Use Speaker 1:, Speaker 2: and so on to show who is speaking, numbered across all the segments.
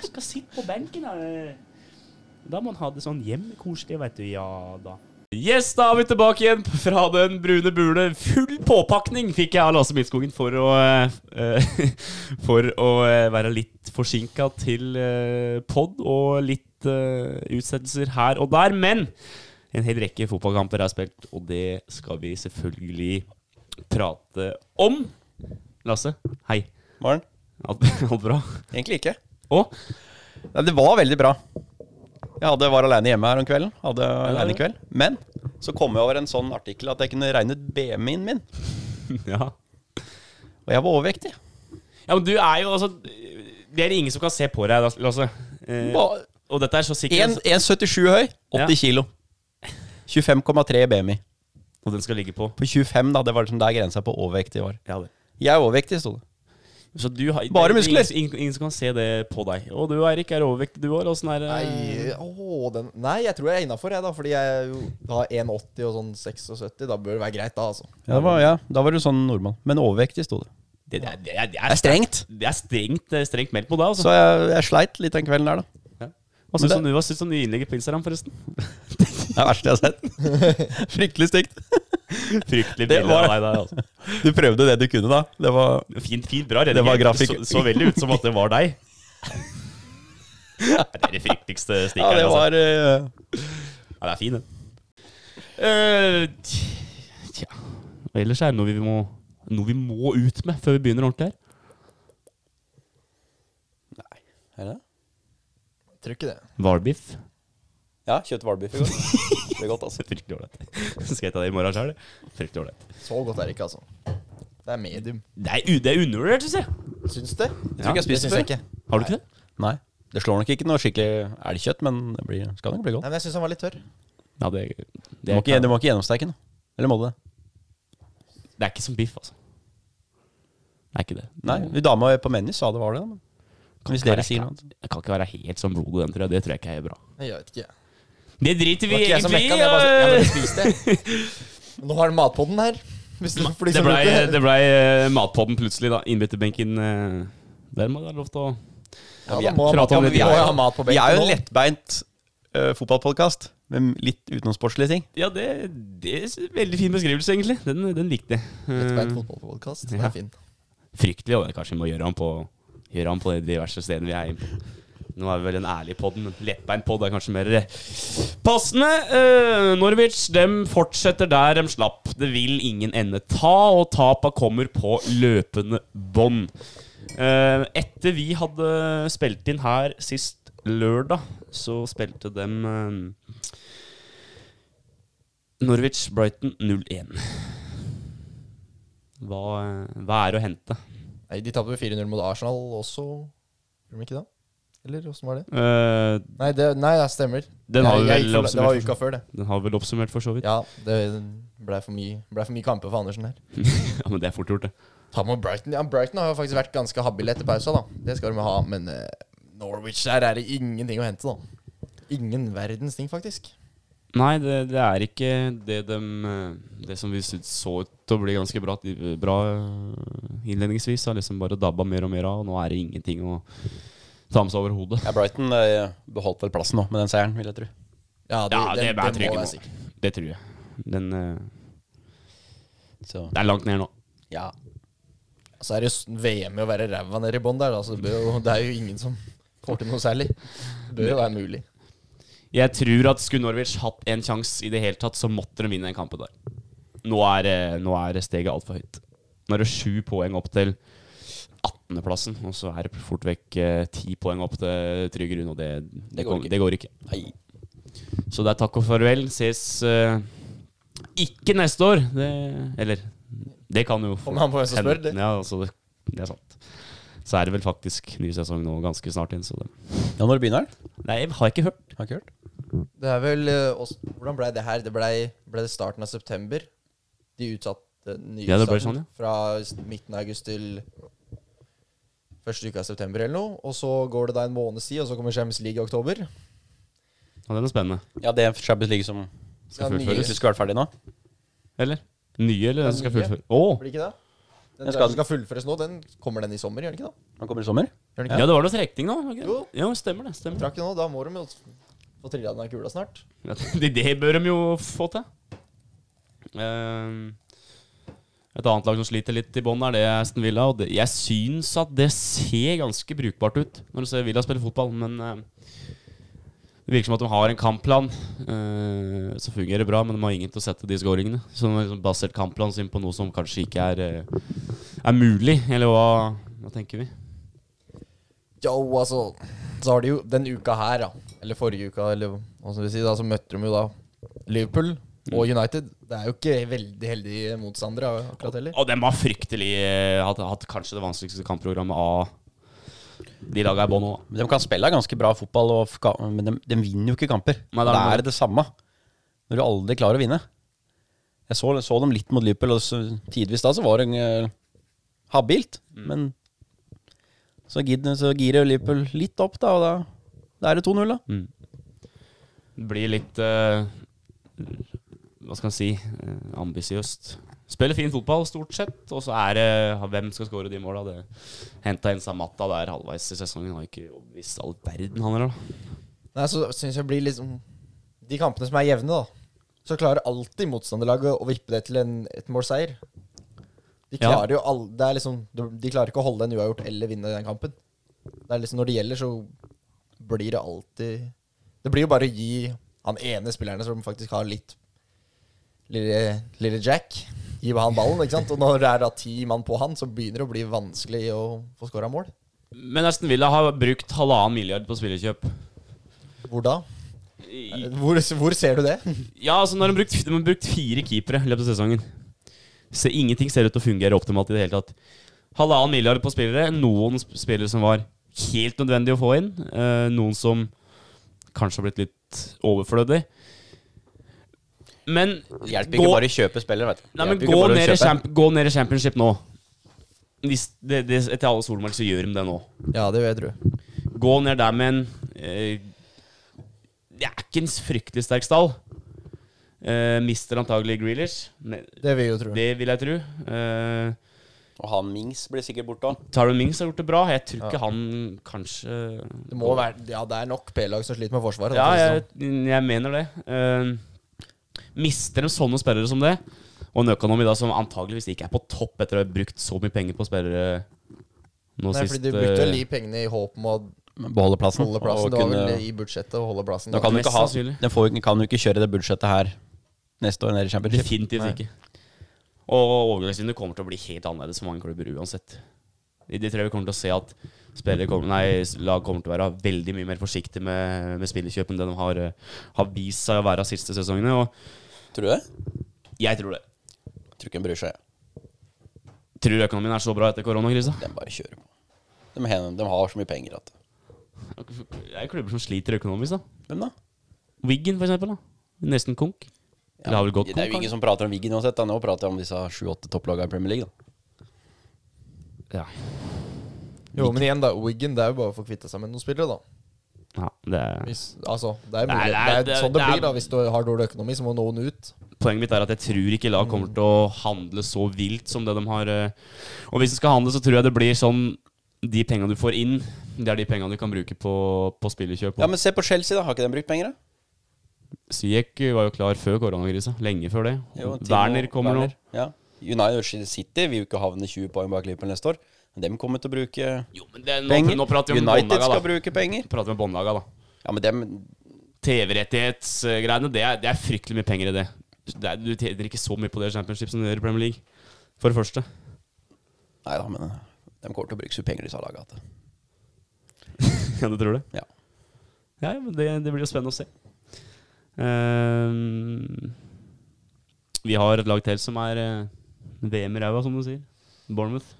Speaker 1: jeg sitter på benken her. Da må han ha det sånn hjemmekoselig, vet du. Ja da.
Speaker 2: Yes, da er vi tilbake igjen fra den brune bule. Full påpakning fikk jeg av Lasse Midtskogen for å eh, For å eh, være litt forsinka til eh, pod og litt eh, utsettelser her og der. Men en hel rekke fotballkamper er spilt, og det skal vi selvfølgelig prate om. Lasse, hei.
Speaker 3: Maren?
Speaker 2: Alt, alt bra?
Speaker 3: Egentlig ikke.
Speaker 2: Å?
Speaker 3: Nei, det var veldig bra. Jeg hadde, var aleine hjemme her om kvelden. Hadde alene kveld. Men så kom jeg over en sånn artikkel at jeg kunne regne ut BMI-en min.
Speaker 2: Ja.
Speaker 3: Og jeg var overvektig.
Speaker 2: ja, men du er jo altså Det er det ingen som kan se på deg, Lasse. Eh,
Speaker 3: Ba-
Speaker 2: og dette er så sikkert
Speaker 3: 1 1,77 høy, 80
Speaker 2: Ja.
Speaker 3: kilo. 25,3 BMI.
Speaker 2: Og den skal ligge på.
Speaker 3: På 25, da. Det var liksom der grensa på overvektig var.
Speaker 2: Ja, det.
Speaker 3: Jeg er overvektig, sto det.
Speaker 2: Så du har,
Speaker 3: Bare
Speaker 2: det er
Speaker 3: muskler.
Speaker 2: Ingen, ingen, ingen som kan se det på deg. Og du Eirik er overvektig, du sånn òg. Åssen er det?
Speaker 4: Nei, åh, den, nei, jeg tror jeg er innafor, jeg, da. Fordi jeg er jo har 1,80 og sånn 76. Da bør det være greit, da, altså.
Speaker 3: Ja, det var, ja, da var du sånn nordmann. Men overvektig, sto det.
Speaker 2: Det, det, er, det, er, det,
Speaker 3: Det
Speaker 2: er,
Speaker 3: er strengt.
Speaker 2: det er strengt, det er strengt meldt på deg. Altså.
Speaker 3: Så jeg, jeg sleit litt den kvelden der, da.
Speaker 2: Ja.
Speaker 3: Hva
Speaker 2: Men
Speaker 3: syns
Speaker 2: som
Speaker 3: du?
Speaker 2: du har syntes om nye innlegget på Instagram, forresten?
Speaker 3: Det er det verste jeg har sett. Fryktelig stygt.
Speaker 2: Fryktelig
Speaker 3: Det
Speaker 2: bilde
Speaker 3: var-
Speaker 2: av deg der. Altså.
Speaker 3: Du prøvde det du kunne, da. Det var
Speaker 2: Fint, fint, bra
Speaker 3: Det var
Speaker 2: redigert.
Speaker 3: grafikk.
Speaker 2: Så, så veldig ut som at det var deg. Det er det frykteligste
Speaker 3: Ja,
Speaker 2: stikkeren.
Speaker 3: det var eh,
Speaker 2: altså. ja, det er fin, den. Eh, tj- tja Og ellers er det noe vi må, noe vi må ut med før vi begynner ordentlig her.
Speaker 3: Er det det?
Speaker 4: Jeg tror ikke det.
Speaker 2: Hvalbiff.
Speaker 3: Ja, kjøtt hvalbiff i går. Det er godt, altså.
Speaker 2: Fryktelig ålreit. Så skal jeg ta det i morgen sjøl. Fryktelig ålreit.
Speaker 4: Så godt er det ikke, altså. Det er medium.
Speaker 2: Det er, u- det er undervurdert, syns jeg.
Speaker 4: Syns det?
Speaker 3: Jeg tror ikke jeg
Speaker 4: Det
Speaker 3: spiste
Speaker 4: syns
Speaker 3: det før.
Speaker 4: jeg ikke.
Speaker 2: Har du ikke det?
Speaker 3: Nei. Det slår nok ikke noe skikkelig elgkjøtt, men det blir, skal nok bli
Speaker 4: Nei,
Speaker 3: godt.
Speaker 4: men jeg syns han var litt tørr.
Speaker 2: Ja, det,
Speaker 3: Du
Speaker 2: det,
Speaker 3: må
Speaker 2: er,
Speaker 3: ikke, du må ikke gjennomsteike den. Eller må du det?
Speaker 2: det er ikke som biff, altså. Det er ikke det.
Speaker 3: Nei, vi dama på Meny sa det var det. da, Men.
Speaker 2: Kan
Speaker 3: Hvis
Speaker 2: ikke
Speaker 3: dere
Speaker 2: være-
Speaker 3: sier noe annet.
Speaker 2: Det kan ikke være helt som blodet, den, tror jeg. Det tror jeg ikke er bra.
Speaker 4: Jeg vet ikke.
Speaker 2: Det driter
Speaker 4: Det
Speaker 2: vi
Speaker 4: var ikke jeg som
Speaker 2: egentlig i.
Speaker 4: vekka den. Jeg bare, jeg bare
Speaker 2: øh.
Speaker 4: spiste det. Men Nå har han matpodden her. Hvis du, for de
Speaker 2: Det
Speaker 4: som
Speaker 2: blei
Speaker 4: lurte.
Speaker 2: det blei, eh, matpodden plutselig, da. Innbytterbenken eh, Der må det være lov til å
Speaker 4: Ja,
Speaker 3: vi
Speaker 4: da
Speaker 3: er-
Speaker 4: må ha
Speaker 2: prate
Speaker 4: mat, ja,
Speaker 2: om
Speaker 4: men
Speaker 2: det.
Speaker 4: vi
Speaker 2: Vi
Speaker 4: må
Speaker 2: er
Speaker 4: jo
Speaker 2: jo-
Speaker 4: ha mat på
Speaker 3: Vi er jo en
Speaker 4: benken nå.
Speaker 3: lettbeint uh, fotballpodkast med litt utenomsportslige ting.
Speaker 2: Ja, det, det er en veldig fin beskrivelse, egentlig. Den, den likte jeg.
Speaker 4: Lettbeint
Speaker 2: Eh,
Speaker 4: fotballpodkast.
Speaker 2: Ja.
Speaker 4: Det er fint.
Speaker 2: Fryktelig, og kanskje vi må gjøre ham på, gjøre ham på de diverse stedene vi er inne på. Nå er vi vel en ærlig podd, men lettbeint podd er kanskje mer eh, passende. Eh, Norwich dem fortsetter der de slapp. Det vil ingen ende ta, og tapa kommer på løpende bånd. Eh, etter vi hadde spilt inn her sist lørdag, så spilte dem eh, Norwich-Brighton 0-1. Hva, eh, hva er å hente?
Speaker 4: Nei, de tapte jo 4-0 mot Arsenal også, gjorde de ikke det? Eller åssen var det?
Speaker 2: Eh,
Speaker 4: Nei, det, nei, det stemmer.
Speaker 2: Den har
Speaker 4: Jeg-
Speaker 2: vi vel
Speaker 4: jeg gikk for- Det var
Speaker 2: oppsummert.
Speaker 4: uka før, det.
Speaker 2: Den har vi vel oppsummert for så vidt.
Speaker 4: Ja, det blei for mye, ble for mye kamper for Andersen her.
Speaker 2: Ja, men det er fort gjort, det.
Speaker 4: Ta med Brighton. Ja, Brighton har jo faktisk vært ganske habile etter pausa, da. Det skal de ha. Men eh, Norwich der er det ingenting å hente, da. Ingen verdens ting, faktisk.
Speaker 2: Nei, det, det er ikke det dem eh, Det som vi syntes så ut til å bli ganske bra, bra eh, innledningsvis, har liksom bare dabba mer og mer av, og nå er det ingenting å ta med seg over hodet.
Speaker 3: Ja, Brighton eh, beholdt vel plassen nå med den seieren, vil jeg tro.
Speaker 2: Ja, det er jeg trygg
Speaker 4: må
Speaker 2: på.
Speaker 4: være sikkert.
Speaker 2: Det tror jeg. Den, eh,
Speaker 3: Så
Speaker 2: det er langt ned nå.
Speaker 3: ja.
Speaker 4: Så er det jo s- VM i å være ræva nede i bånn der, da. Så det, bør jo, det er jo ingen som får til noe særlig. Det bør jo være mulig.
Speaker 2: Jeg tror at skulle Norwich hatt en sjanse i det hele tatt, så måtte de vinne den kampen der. Nå er, eh, nå er steget altfor høyt. Nå er det sju poeng opp til 18.-plassen, og så er det fort vekk eh, ti poeng opp til Trygg Rune, og det, det,
Speaker 3: Det går
Speaker 2: kom-
Speaker 3: ikke.
Speaker 2: det går ikke.
Speaker 3: Nei.
Speaker 2: Så det er takk og farvel. Ses eh, ikke neste år. Det, eller det kan jo
Speaker 4: Kommer an på hvem som spør, det.
Speaker 2: hende. Ja, altså, det, det er sant. Så er det vel faktisk ny sesong nå ganske snart inn, så det
Speaker 3: Ja, når begynner den?
Speaker 2: Nei, jeg har ikke hørt.
Speaker 3: Har ikke hørt.
Speaker 4: Det er vel eh, også, Hvordan blei det her? Det blei ble det starten av september? De utsatte eh, nye
Speaker 2: Ja, det ble
Speaker 4: starten
Speaker 2: sånn, ja.
Speaker 4: fra s- midten av august til første uka av september eller noe. Og så går det da en måneds tid, og så kommer Champions League i oktober.
Speaker 2: Ja, det er noe spennende.
Speaker 3: Ja, det er Champions League som
Speaker 4: Skal
Speaker 2: fullføres.
Speaker 3: Hvis du skulle vært ferdig nå?
Speaker 2: Eller? Nye, eller den som skal
Speaker 4: Nye.
Speaker 2: fullføre? Å!
Speaker 4: Blir ikke det? Den
Speaker 3: skal-
Speaker 4: skal, skal fullføres nå. Den kommer den i sommer, gjør den ikke da?
Speaker 3: Han kommer i sommer.
Speaker 4: Gjør den
Speaker 2: Ja,
Speaker 4: ikke det?
Speaker 2: det var noe trekning nå? var det ikke det?
Speaker 4: Jo.
Speaker 2: Jo, stemmer det. stemmer
Speaker 4: Trakk den nå, da må de jo få trilla den av kula snart.
Speaker 2: det. Det bør de jo få til. Ehm, et annet lag som sliter litt i bånn, er det Aston Villa. Og det, jeg syns at det ser ganske brukbart ut når du ser Villa spille fotball, men ehm, det virker som at de har en kampplan eh, som fungerer bra, men de har ingen til å sette de scoringene. Så de har liksom basert kampplanen sin på noe som kanskje ikke er, eh, er mulig, eller hva, hva tenker vi?
Speaker 4: Jo, altså Så har de jo den uka her, da. Eller forrige uka, eller hva skal vi si. da Så møtte de jo da Liverpool og United. Det er jo ikke veldig heldige motstandere akkurat heller.
Speaker 2: Og dem har fryktelig eh, hatt, hatt kanskje det vanskeligste kampprogrammet av de laga i bånn òg.
Speaker 3: Men De kan spille ganske bra fotball, og f- ka- men de, de vinner jo ikke kamper.
Speaker 2: Nei, det er
Speaker 3: det
Speaker 2: noe-
Speaker 3: er det samme. Når du aldri klarer å vinne. Jeg så, så dem litt mot Liverpool, og så- tidvis da så var det eh, habilt. Men så, gid, så girer Liverpool litt opp, da, og da, da er det 2-0, da.
Speaker 2: Mm. Det blir litt eh, Hva skal en si? eh, ambisiøst. Spiller fin fotball, stort sett. Og så er det hvem skal skåre de måla. Det Henta inn Samata der halvveis i sesongen. Har ikke visst all verden, han heller. da.
Speaker 4: Nei, så synes jeg blir liksom De kampene som er jevne, da, så klarer alltid motstanderlaget å vippe det til en ettmålseier. De
Speaker 2: Ja.
Speaker 4: klarer jo all, det er liksom, de, de klarer ikke å holde en uavgjort eller vinne den kampen. Det er liksom Når det gjelder, så blir det alltid Det blir jo bare å gi han ene spillerne som faktisk har litt Lille, lille Jack, gi han ballen, ikke sant? Og når det er da ti mann på han, så begynner det å bli vanskelig å få skåra mål.
Speaker 2: Men Aston Villa har brukt halvannen milliard på spillerkjøp.
Speaker 4: Hvor da? Hvor, hvor ser du det?
Speaker 2: Ja, altså når de har brukt, de har brukt fire keepere i løpet av sesongen. Så ingenting ser ut til å fungere optimalt i det hele tatt. Halvannen milliard på spillere. Noen sp- spillere som var helt nødvendig å få inn. eh, noen som kanskje har blitt litt overflødig. Men
Speaker 3: Det hjelper
Speaker 2: gå-
Speaker 3: ikke bare å kjøpe spillere, vet du.
Speaker 2: Nei,
Speaker 3: Det
Speaker 2: men
Speaker 3: hjelper ikke
Speaker 2: gå
Speaker 3: bare å
Speaker 2: ned, i
Speaker 3: kjøpe.
Speaker 2: champ, gå ned i championship nå. Hvis det, det, etter alle solmerker så gjør de det nå.
Speaker 4: Ja, det vet du.
Speaker 2: Gå ned der med en eh, Det er ikke en fryktelig sterk stall. Eh, mister antagelig Grealish. Men
Speaker 4: Det vil jeg jo tro.
Speaker 2: Det vil jeg tro. Eh,
Speaker 3: Og han Mings blir sikkert borte òg.
Speaker 2: Tyron Mings har gjort det bra. Jeg tror ikke han kanskje
Speaker 4: Det må være, ja, det er nok P-lag som sliter med forsvaret.
Speaker 2: Ja,
Speaker 4: da, for å si det sånn.
Speaker 2: jeg, jeg mener det. Eh, mister de sånne spillere som det, og en økonomi da som antageligvis ikke er på topp etter å ha brukt så mye penger på spillere nå
Speaker 4: sånn. Nei,
Speaker 2: sist
Speaker 4: fordi Du brukte
Speaker 2: eh,
Speaker 4: jo de pengene i håp om å
Speaker 3: Beholde plassen.
Speaker 4: holde plassen.
Speaker 3: og
Speaker 4: Det var
Speaker 3: kunne-
Speaker 4: vel i budsjettet å holde plassen.
Speaker 3: Da kan du
Speaker 2: Mest
Speaker 3: ikke ha,
Speaker 2: sannsynlig.
Speaker 3: den får, jo ikke- kan jo ikke kjøre det budsjettet her neste år nede i Championship.
Speaker 2: Definitivt ikke. Og overgangsvinduet kommer til å bli helt annerledes for mange klubber uansett. I De tre vi kommer til å se at spillere kommer, nei, lag kommer til å være veldig mye mer forsiktige med, med spillerkjøp enn det de har, eh, har vist seg å være de siste sesongene. Og
Speaker 3: Tror du det?
Speaker 2: jeg tror det.
Speaker 3: Jeg tror ikke de bryr seg.
Speaker 2: Tror økonomien er så bra etter koronakrisa?
Speaker 3: De bare kjører på. De, hen- de har så mye penger at
Speaker 2: Det er klubber som sliter økonomisk, da.
Speaker 3: Hvem da?
Speaker 2: Wiggen, for eksempel. Da. Nesten konk. Eller har vel gått
Speaker 3: det er jo
Speaker 2: konk?
Speaker 3: ingen som prater om Wiggen uansett. Da. Nå prater jeg om disse sju-åtte topplagene i Premier League.
Speaker 2: kanskje?
Speaker 3: Da.
Speaker 2: Ja.
Speaker 4: Jo, men igjen, da. Wiggen, det er jo bare å få kvitta seg med noen spillere, da.
Speaker 2: ja. Det er.
Speaker 4: Hvis, altså, det er,
Speaker 2: Nei,
Speaker 4: mulig.
Speaker 2: det
Speaker 4: Det
Speaker 2: er-
Speaker 4: er,
Speaker 2: det-
Speaker 4: sånn det,
Speaker 2: det er-
Speaker 4: blir, da. Hvis du har dårlig økonomi, så må noen ut.
Speaker 2: Poenget mitt er at jeg tror ikke lag kommer til å handle så vilt som det de har eh. Og hvis de skal handle, så tror jeg det blir sånn De pengene du får inn, det er de pengene du kan bruke på, på spillerkjøp.
Speaker 3: Ja, men se på Chelsea, da. Har ikke de brukt penger, da?
Speaker 2: Siek var jo klar før koronakrisa. Lenge før det.
Speaker 3: Jo, Timo
Speaker 2: Werner kommer nå.
Speaker 3: Werner. Ja. United City vil jo ikke havne 20 poeng bak Liverpool neste år. Men dem kommer til å bruke
Speaker 2: Jo, men det, nå,
Speaker 3: penger.
Speaker 2: nå prater vi om
Speaker 3: United
Speaker 2: båndlaga,
Speaker 3: skal
Speaker 2: da.
Speaker 3: bruke penger.
Speaker 2: Prater vi om båndlaga, da.
Speaker 3: Ja, men dem
Speaker 2: TV-rettighetsgreiene, det, er- det er fryktelig mye penger i det. det er, du tjener ikke så mye på det i Championship som du gjør i Premier League. For det første.
Speaker 3: Nei da, men de kommer til å bruke så mye penger, disse lagene. at-
Speaker 2: ja, du tror det?
Speaker 3: Ja.
Speaker 2: Ja, ja, men det, det blir jo spennende å se. Ehm, vi har et lag til som er eh, VM i ræva, som du sier. Bournemouth.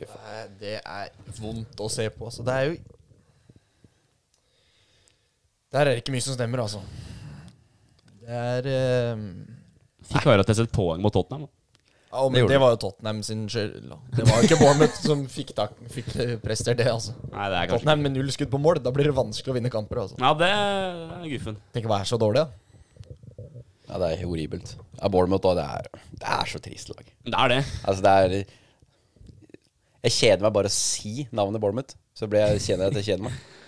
Speaker 4: Nei, Det er vondt å se på, altså. Det er jo Der er det ikke mye som stemmer, altså. Det er eh,
Speaker 2: Fikk Harates et poeng mot Tottenham. da.
Speaker 4: ja, men
Speaker 3: Det gjorde
Speaker 4: det var jo Tottenham sin skyld. da. Det var jo ikke Bournemouth som fikk, tak- fikk eh, prestert det, altså.
Speaker 2: Nei, det er kanskje
Speaker 4: Tottenham med null skudd på mål, da blir det vanskelig å vinne kamper. altså.
Speaker 2: Ja, det er guffen.
Speaker 4: Tenk å være så dårlig, da.
Speaker 3: Ja, det er horribelt. Ja, Bournemouth, da. Det er, det er så trist lag.
Speaker 2: Det er det.
Speaker 3: Altså, det er Jeg kjeder meg bare å si navnet Bournemouth. Så blir jeg, kjenner jeg at jeg kjeder meg.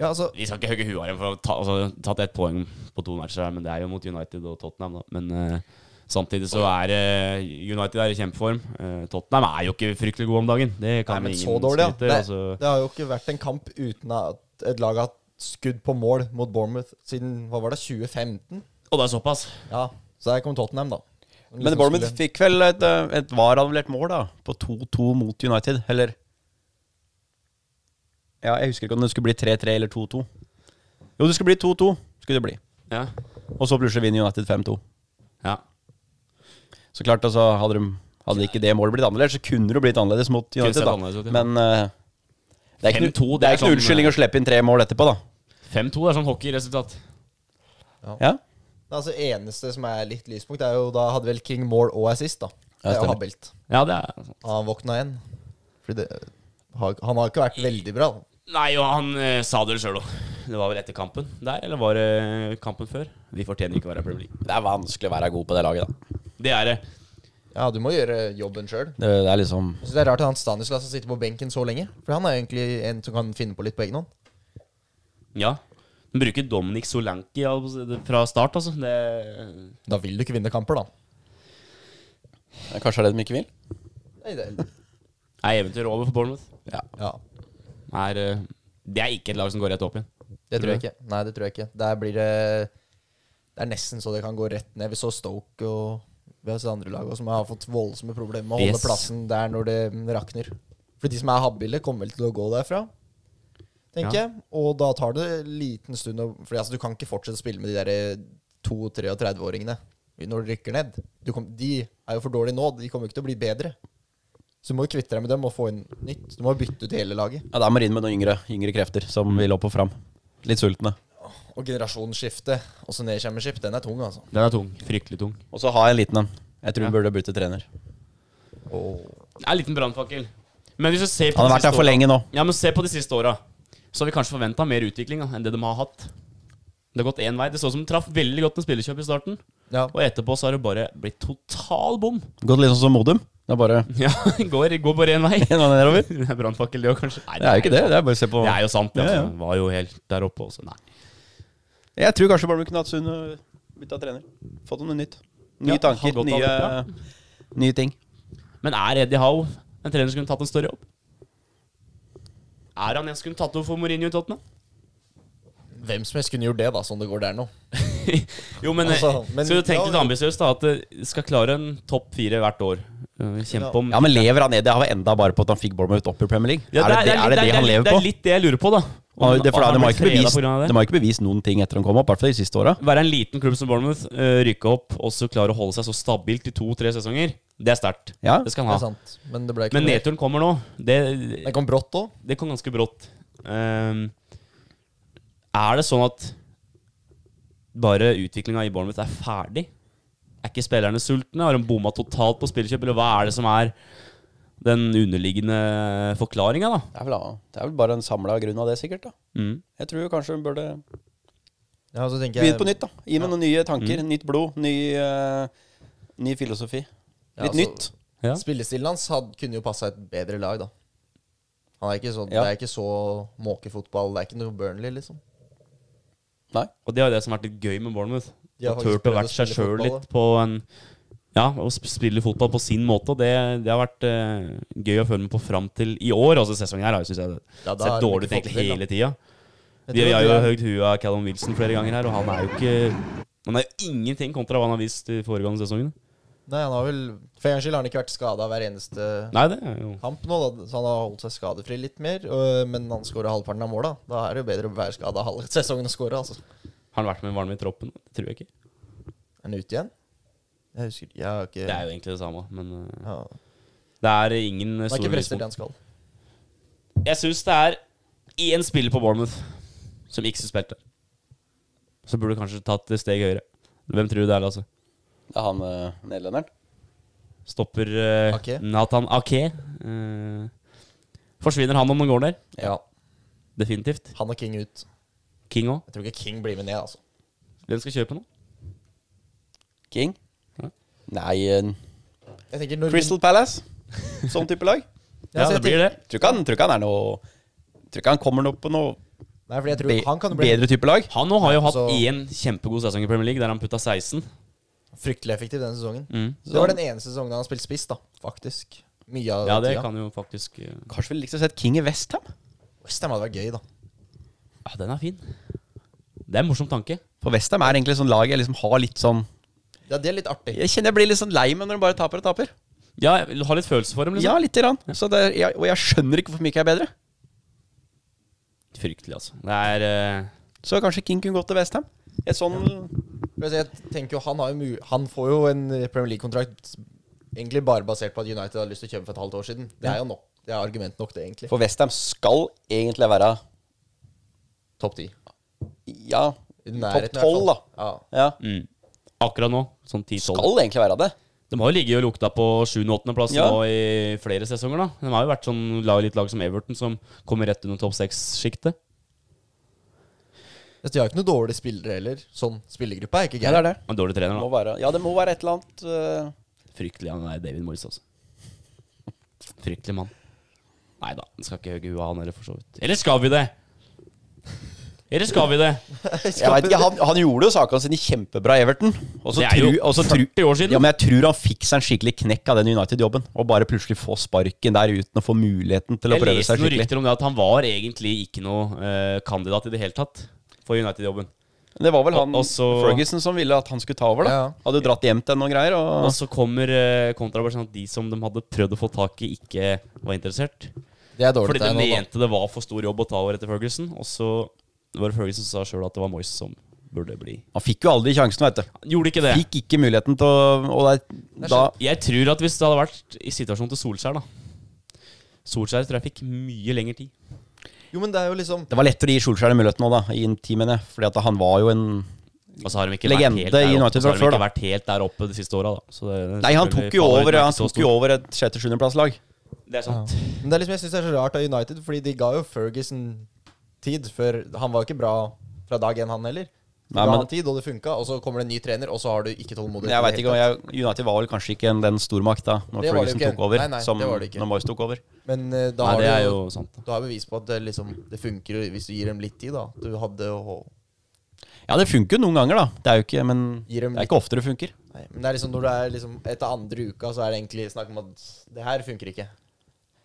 Speaker 4: Ja, altså,
Speaker 2: Vi skal ikke hogge huet av dem for å ta altså, tatt ett poeng på to matcher, her, men det er jo mot United og Tottenham. Da. Men eh, samtidig så er eh, United er i kjempeform. Eh, Tottenham er jo ikke fryktelig gode om dagen. Det
Speaker 4: nei,
Speaker 2: kan
Speaker 4: men
Speaker 2: ingen
Speaker 4: så dårlig, ja.
Speaker 2: skryte,
Speaker 4: Det,
Speaker 2: altså.
Speaker 4: det har jo ikke vært en kamp uten at et lag har hatt skudd på mål mot Bournemouth siden hva var det, 2015?
Speaker 2: Og det er såpass.
Speaker 4: Ja, så der kom Tottenham, da. Som
Speaker 3: Men
Speaker 4: liksom
Speaker 3: Bournemouth
Speaker 4: skulle-
Speaker 3: fikk vel et, eh, et var-annullert mål da på 2-2 mot United, eller Ja, jeg husker ikke om det skulle bli 3-3 eller 2-2. Jo, det skulle bli 2-2, skulle det bli.
Speaker 2: Ja.
Speaker 3: Og så plutselig vinner United 5-2.
Speaker 2: ja.
Speaker 3: Så klart, altså, hadde, de, hadde ikke det målet blitt annerledes, så kunne det jo blitt annerledes mot
Speaker 2: Kunne
Speaker 3: United,
Speaker 2: sett
Speaker 3: da.
Speaker 2: annerledes ut, ja.
Speaker 3: Men eh, det er ikke,
Speaker 2: 5-2, det
Speaker 3: noe- det
Speaker 2: er
Speaker 3: er eh, ikke noe
Speaker 2: sånn-
Speaker 3: unnskyldning å slippe inn tre mål etterpå, da.
Speaker 2: 5-2 er sånn hockeyresultat.
Speaker 3: Ja?
Speaker 4: Det altså, eneste som er litt lyspunkt, er jo da hadde vel King mål og assist, da. Det er jo
Speaker 3: stemmer.
Speaker 4: habilt.
Speaker 2: Ja, det er sånn.
Speaker 4: Han våkna igjen. Fordi det, har- han har ikke vært veldig bra. da.
Speaker 2: Nei, og han eh, sa det sjøl òg. Det var vel etter kampen der, eller var det eh, kampen før? Vi fortjener ikke å være i Premier League.
Speaker 3: Det er vanskelig å være god på det laget, da.
Speaker 2: Det er det.
Speaker 4: Ja, du må gjøre jobben sjøl.
Speaker 3: Det, det er liksom
Speaker 4: Det er rart at han Stanislas sitter på benken så lenge. For han er jo egentlig en som kan finne på litt på egen hånd.
Speaker 2: Ja. De bruker Dominic Solanki ja, fra start, altså. Det
Speaker 4: Da vil du ikke vinne kamper, da.
Speaker 3: Kanskje er det de ikke vil?
Speaker 4: Nei, det,
Speaker 2: Er eventyret over for Bournemouth?
Speaker 4: ja,
Speaker 2: Er, eh, det er ikke et lag som går rett opp igjen.
Speaker 4: det
Speaker 2: Tror
Speaker 4: tror jeg
Speaker 2: du?
Speaker 4: ikke. Nei, det tror jeg ikke. Der blir det Det er nesten så det kan gå rett ned. Vi så Stoke og vi har sett andre lag også, som har fått voldsomme problemer med å holde
Speaker 2: Yes.
Speaker 4: plassen der når det rakner. For de som er habile, kommer vel til å gå derfra, tenker
Speaker 2: Ja.
Speaker 4: jeg. Og da tar det en liten stund å For altså, du kan ikke fortsette å spille med de der eh, 32-åringene når du rykker ned. Du kom, de er jo for dårlige nå. De kommer jo ikke til å bli bedre. Så du må jo kvitte deg med dem og få inn nytt. Du må bytte ut hele laget.
Speaker 3: Ja, det er Marine med noen yngre, yngre krefter som vil opp og fram. Litt sultne.
Speaker 4: Og generasjonsskifte, også nedkjemmerskip, den er tung, altså.
Speaker 2: Den er tung. Fryktelig tung.
Speaker 3: Og så har jeg en liten en. Jeg tror hun burde bytte trener.
Speaker 2: Det er en liten brannfakkel. Men hvis du ser på
Speaker 3: Han
Speaker 2: de
Speaker 3: har vært
Speaker 2: siste
Speaker 3: her for
Speaker 2: åra-
Speaker 3: lenge nå.
Speaker 2: Ja, men se på de siste åra. Så har vi kanskje forventa mer utvikling da, enn det de har hatt. Det har gått én vei. Det så ut som de traff veldig godt med spillerkjøp i starten.
Speaker 4: Ja.
Speaker 2: Og etterpå så har det bare blitt total bom.
Speaker 3: Gått litt sånn som Modum. Det er bare
Speaker 2: Ja, går, går bare én vei.
Speaker 3: en og nedover.
Speaker 2: Det er brannfakkel, det òg, kanskje. Nei,
Speaker 3: Det er jo ikke det. Det er bare å se på
Speaker 2: Det er jo sant. Det,
Speaker 3: Ja,
Speaker 2: altså.
Speaker 3: ja.
Speaker 2: Var jo helt der oppe også. Nei.
Speaker 3: Jeg tror kanskje Bournemouth kunne hatt Sunn og bytta trener. Fått noe nytt. Nye
Speaker 2: Ja, har
Speaker 3: tanker,
Speaker 2: godt av
Speaker 3: nye, nye ting.
Speaker 2: Men er Eddie Howe en trener som kunne tatt en større jobb? Er han en som kunne tatt over for Mourinho i Tottenham?
Speaker 4: Hvem som helst kunne gjort det, da, sånn det går der nå.
Speaker 2: jo, men,
Speaker 4: Altså, men-
Speaker 2: skal du tenke litt
Speaker 4: ja,
Speaker 2: ambisiøst, da? At det skal klare en topp fire hvert år. Eh, Kjempe
Speaker 4: Ja.
Speaker 2: om
Speaker 3: Ja, men lever han ned? Det har vi enda bare på at han fikk Bournemouth opp i Premier League.
Speaker 2: Ja,
Speaker 3: er, det, det, er det det han
Speaker 2: Det
Speaker 3: lever
Speaker 2: er
Speaker 3: på?
Speaker 2: litt det jeg lurer på, da.
Speaker 3: Han- det, for da,
Speaker 2: han
Speaker 3: de,
Speaker 2: blir
Speaker 3: har ikke
Speaker 2: fredet
Speaker 3: bevist,
Speaker 2: på grunn av det.
Speaker 3: de har ikke bevist noen ting etter han kom opp, i hvert fall de siste åra.
Speaker 2: Være en liten klubb som Bournemouth, eh, rykke opp og så klare å holde seg så stabilt i to-tre sesonger, det er sterkt.
Speaker 3: Ja.
Speaker 2: Det skal
Speaker 4: Det
Speaker 2: han
Speaker 4: er
Speaker 2: ha.
Speaker 4: sant. Men det ble ikke
Speaker 2: Men
Speaker 4: noe.
Speaker 2: nedturen kommer nå. Det,
Speaker 4: Den kom brått òg.
Speaker 2: det kom ganske brått. Ehm, er det sånn at bare utviklinga i Bournemouth er ferdig? Er ikke spillerne sultne? Har de bomma totalt på spillkjøp, eller hva er det som er den underliggende forklaringa, da?
Speaker 3: Det, er vel- det er vel bare en samla grunn av det, sikkert. da
Speaker 2: Mm.
Speaker 3: Jeg tror kanskje hun burde
Speaker 4: Ja, så tenker jeg-
Speaker 3: Begynn på nytt, da. Gi meg noen nye tanker. Nytt blod. Ny, eh, ny filosofi.
Speaker 4: Ja,
Speaker 3: Litt
Speaker 4: altså,
Speaker 3: nytt.
Speaker 2: Ja.
Speaker 4: Spillestilen hans had, kunne jo passa et bedre lag, da. Han er ikke så,
Speaker 3: Ja.
Speaker 4: Det er ikke så måkefotball. Det er ikke noe Burnley, liksom.
Speaker 3: Nei.
Speaker 2: Og det er jo det som har vært litt gøy med Bournemouth.
Speaker 4: De har
Speaker 2: Og
Speaker 4: faktisk
Speaker 2: turt å
Speaker 4: prøvd å
Speaker 2: være seg
Speaker 4: spille
Speaker 2: sjøl
Speaker 4: fotball,
Speaker 2: litt på en Ja, å sp- spille fotball på sin måte. Og det, det har vært eh, gøy å følge med på fram til i år. Altså sesongen her har jo synes jeg
Speaker 4: Ja, da
Speaker 2: sett
Speaker 4: har de
Speaker 2: dårlig ut
Speaker 4: ikke
Speaker 2: egentlig
Speaker 4: fått det til,
Speaker 2: hele tida.
Speaker 4: Jeg
Speaker 2: Vi
Speaker 4: tror
Speaker 2: har
Speaker 4: at
Speaker 2: jo
Speaker 4: de er-
Speaker 2: høyd huet av Callum Wilson flere ganger her, og han er jo ikke Han er jo ingenting kontra hva han har vist i foregående sesongene.
Speaker 4: Nei, han har vel For en gangs skyld har han ikke vært skada hver eneste
Speaker 2: Nei, det er jo
Speaker 4: kamp nå, da. så han har holdt seg skadefri litt mer. og- Men han skårer halvparten av måla. Da er det jo bedre å være skada halve sesongen og skåre, altså.
Speaker 2: Har han vært med varme i troppen? Det tror jeg ikke.
Speaker 4: Er han ute igjen? Jeg husker Jeg har ikke
Speaker 2: Det er jo egentlig det samme, men eh,
Speaker 4: ja.
Speaker 2: det er ingen eh,
Speaker 4: Han har
Speaker 2: store
Speaker 4: ikke prestert det
Speaker 2: lyspunkt.
Speaker 4: han skal.
Speaker 2: Jeg syns det er én spiller på Bournemouth som ikke spilte. Så burde du kanskje tatt et steg høyere. Hvem tror du det er, altså? Lasse?
Speaker 3: Det er han eh, nederlenderen.
Speaker 2: Stopper eh,
Speaker 4: Ake.
Speaker 2: Nathan Ake. Eh, forsvinner han om den går der?
Speaker 4: Ja.
Speaker 2: Definitivt.
Speaker 4: Han og King ut.
Speaker 2: King òg.
Speaker 4: Jeg tror ikke King blir med ned, altså.
Speaker 2: Hvem skal kjøpe nå?
Speaker 3: King.
Speaker 2: Ja.
Speaker 3: Nei eh,
Speaker 4: Jeg tenker når
Speaker 3: Crystal Palace. Sånn type lag.
Speaker 2: Ja,
Speaker 4: så
Speaker 2: det
Speaker 4: jeg
Speaker 2: blir det.
Speaker 3: Tror ikke han, tror ikke han er noe Tror ikke han kommer noe på noe
Speaker 4: Nei, fordi jeg tror
Speaker 3: be,
Speaker 4: han kan jo bli
Speaker 3: bedre type lag.
Speaker 2: Han nå har jo hatt
Speaker 4: Så-
Speaker 2: én kjempegod sesong i Premier League, der han putta 16.
Speaker 4: fryktelig effektiv denne sesongen.
Speaker 2: Mm.
Speaker 4: Så det var den eneste sesongen han har spilt spiss, da. Faktisk. Mye av
Speaker 2: Ja, det
Speaker 4: tida.
Speaker 2: kan jo faktisk eh,
Speaker 3: Kanskje ville likt å sett King i Westham?
Speaker 4: Westham hadde vært gøy, da.
Speaker 2: Ja, den er fin. Det er en morsom tanke.
Speaker 3: For Westham er egentlig sånn lag jeg liksom har litt sånn
Speaker 4: Ja, det er litt artig.
Speaker 3: Jeg kjenner jeg blir litt sånn lei meg når de bare taper og taper.
Speaker 2: Ja, jeg vil ha litt følelse for dem,
Speaker 3: Ja,
Speaker 2: liksom.
Speaker 3: lite grann. Så det er, jeg, og jeg skjønner ikke hvorfor Mika er bedre.
Speaker 2: Fryktelig, altså. Det er eh,
Speaker 3: Så kanskje King kunne gått til Westham. Et sånn
Speaker 4: Men altså, Jeg tenker jo Han, har jo mu han får jo en eh, Premier League-kontrakt egentlig bare basert på at United hadde lyst til å kjøpe for et halvt år siden. Det er jo nok. Det er argument nok, det, egentlig.
Speaker 3: For Westham skal egentlig være
Speaker 4: Topp ti.
Speaker 3: Ja,
Speaker 4: I
Speaker 3: topp
Speaker 4: nærheten i hvert
Speaker 3: tolv, da.
Speaker 4: fall. Ja.
Speaker 3: Ja.
Speaker 2: mm, Akkurat nå, sånn 10-12.
Speaker 3: Skal egentlig være det.
Speaker 2: De har jo ligget og lukta på 7.-8.-plass
Speaker 3: Ja.
Speaker 2: nå i flere sesonger. da De har jo vært sånn lag, litt lag som Everton, som kommer rett under topp seks-sjiktet.
Speaker 4: Altså, De har jo ikke noen dårlige spillere heller. Sånn spillergruppe er ikke
Speaker 3: Ja, det er
Speaker 4: gæren.
Speaker 3: det.
Speaker 2: En dårlig trener,
Speaker 3: Må
Speaker 2: da.
Speaker 3: være, ja, det må være et eller annet eh,
Speaker 2: Fryktelig han er David Morris, altså. Fryktelig mann. Nei da, skal ikke hogge huet av han heller, for så vidt. Eller skal vi det? Eller skal vi det?
Speaker 3: Jeg vet ikke, han, han gjorde jo sakene sine kjempebra, i Everton. Og så
Speaker 2: Det er jo
Speaker 3: tru- og så tru-
Speaker 2: 40 år siden.
Speaker 3: Ja, men jeg tror han fikk seg en skikkelig knekk av den United-jobben. Og bare plutselig få sparken der uten å få muligheten til å
Speaker 2: Jeg
Speaker 3: prøve
Speaker 2: leste
Speaker 3: seg
Speaker 2: noen
Speaker 3: skikkelig.
Speaker 2: rykter om det at han var egentlig ikke noe eh, kandidat i det hele tatt for United-jobben.
Speaker 3: Det var vel han
Speaker 2: Og- og så-
Speaker 3: Ferguson som ville at han skulle ta over, da.
Speaker 4: Ja.
Speaker 3: Hadde jo dratt hjem til noen greier.
Speaker 2: Og
Speaker 3: Og,
Speaker 2: så kommer eh, kontrabasjonen at de som de hadde prøvd å få tak i, ikke var interessert.
Speaker 4: Det er dårlig
Speaker 2: Fordi de
Speaker 4: tegn. nå, da.
Speaker 2: mente det var for stor jobb å ta over etter Ferguson. Og så var det Ferguson som sa sjøl at det var Moyes som burde bli
Speaker 3: han fikk jo aldri sjansen, vet du.
Speaker 2: Han Gjorde ikke det.
Speaker 3: Fikk ikke muligheten til å Og det, da
Speaker 2: Jeg tror at hvis det hadde vært i situasjonen til Solskjær, da Solskjær tror jeg fikk mye lengre tid.
Speaker 4: Jo, men det er jo liksom
Speaker 3: det var lettere å gi Solskjær den muligheten nå, da, i en tid, mener jeg. Fordi at han var jo en
Speaker 2: Og så har de ikke
Speaker 3: Legende
Speaker 2: vært helt der
Speaker 3: i
Speaker 2: oppe,
Speaker 3: United
Speaker 2: og så har de
Speaker 3: fra før,
Speaker 2: ikke
Speaker 3: da.
Speaker 2: vært helt der oppe de siste åra, da. Så det, det-
Speaker 3: Nei, han
Speaker 2: selvfølgelig
Speaker 3: tok jo
Speaker 2: faller
Speaker 3: over,
Speaker 2: ikke
Speaker 3: han
Speaker 2: så
Speaker 3: tok jo
Speaker 2: stor.
Speaker 3: over et sjette-sjuendeplasslag.
Speaker 2: Det er sant.
Speaker 4: Men det er liksom, jeg syns det er så rart av United, fordi de ga jo Ferguson tid før Han var jo ikke bra fra dag én, han heller. De
Speaker 3: Nei,
Speaker 4: ga
Speaker 3: men-
Speaker 4: han tid, og det funka, og så kommer det en ny trener, og så har du ikke tålmodighet.
Speaker 3: Men jeg
Speaker 4: i
Speaker 3: vet
Speaker 4: det
Speaker 3: ikke,
Speaker 4: hele
Speaker 3: og jeg, United var vel kanskje ikke en, den stormakt da Når
Speaker 4: Det var det
Speaker 3: Ferguson
Speaker 4: jo ikke.
Speaker 3: tok over.
Speaker 4: Nei, nei,
Speaker 3: som
Speaker 4: det var det ikke.
Speaker 3: når Moyes tok over.
Speaker 4: tatt. Men eh, da
Speaker 2: Nei,
Speaker 4: har
Speaker 2: det
Speaker 4: du
Speaker 2: er
Speaker 4: jo
Speaker 2: jo sant.
Speaker 4: Du har bevis på at det, liksom, det funker hvis du gir dem litt tid, da. At Du hadde å-
Speaker 3: Ja, det funker jo noen ganger, da. Det er jo ikke, men
Speaker 4: Gir
Speaker 3: det
Speaker 4: dem
Speaker 3: er ikke ofte det funker.
Speaker 4: Nei, men det er liksom når du er liksom etter andre uka, så er det egentlig snakk om at det her funker ikke.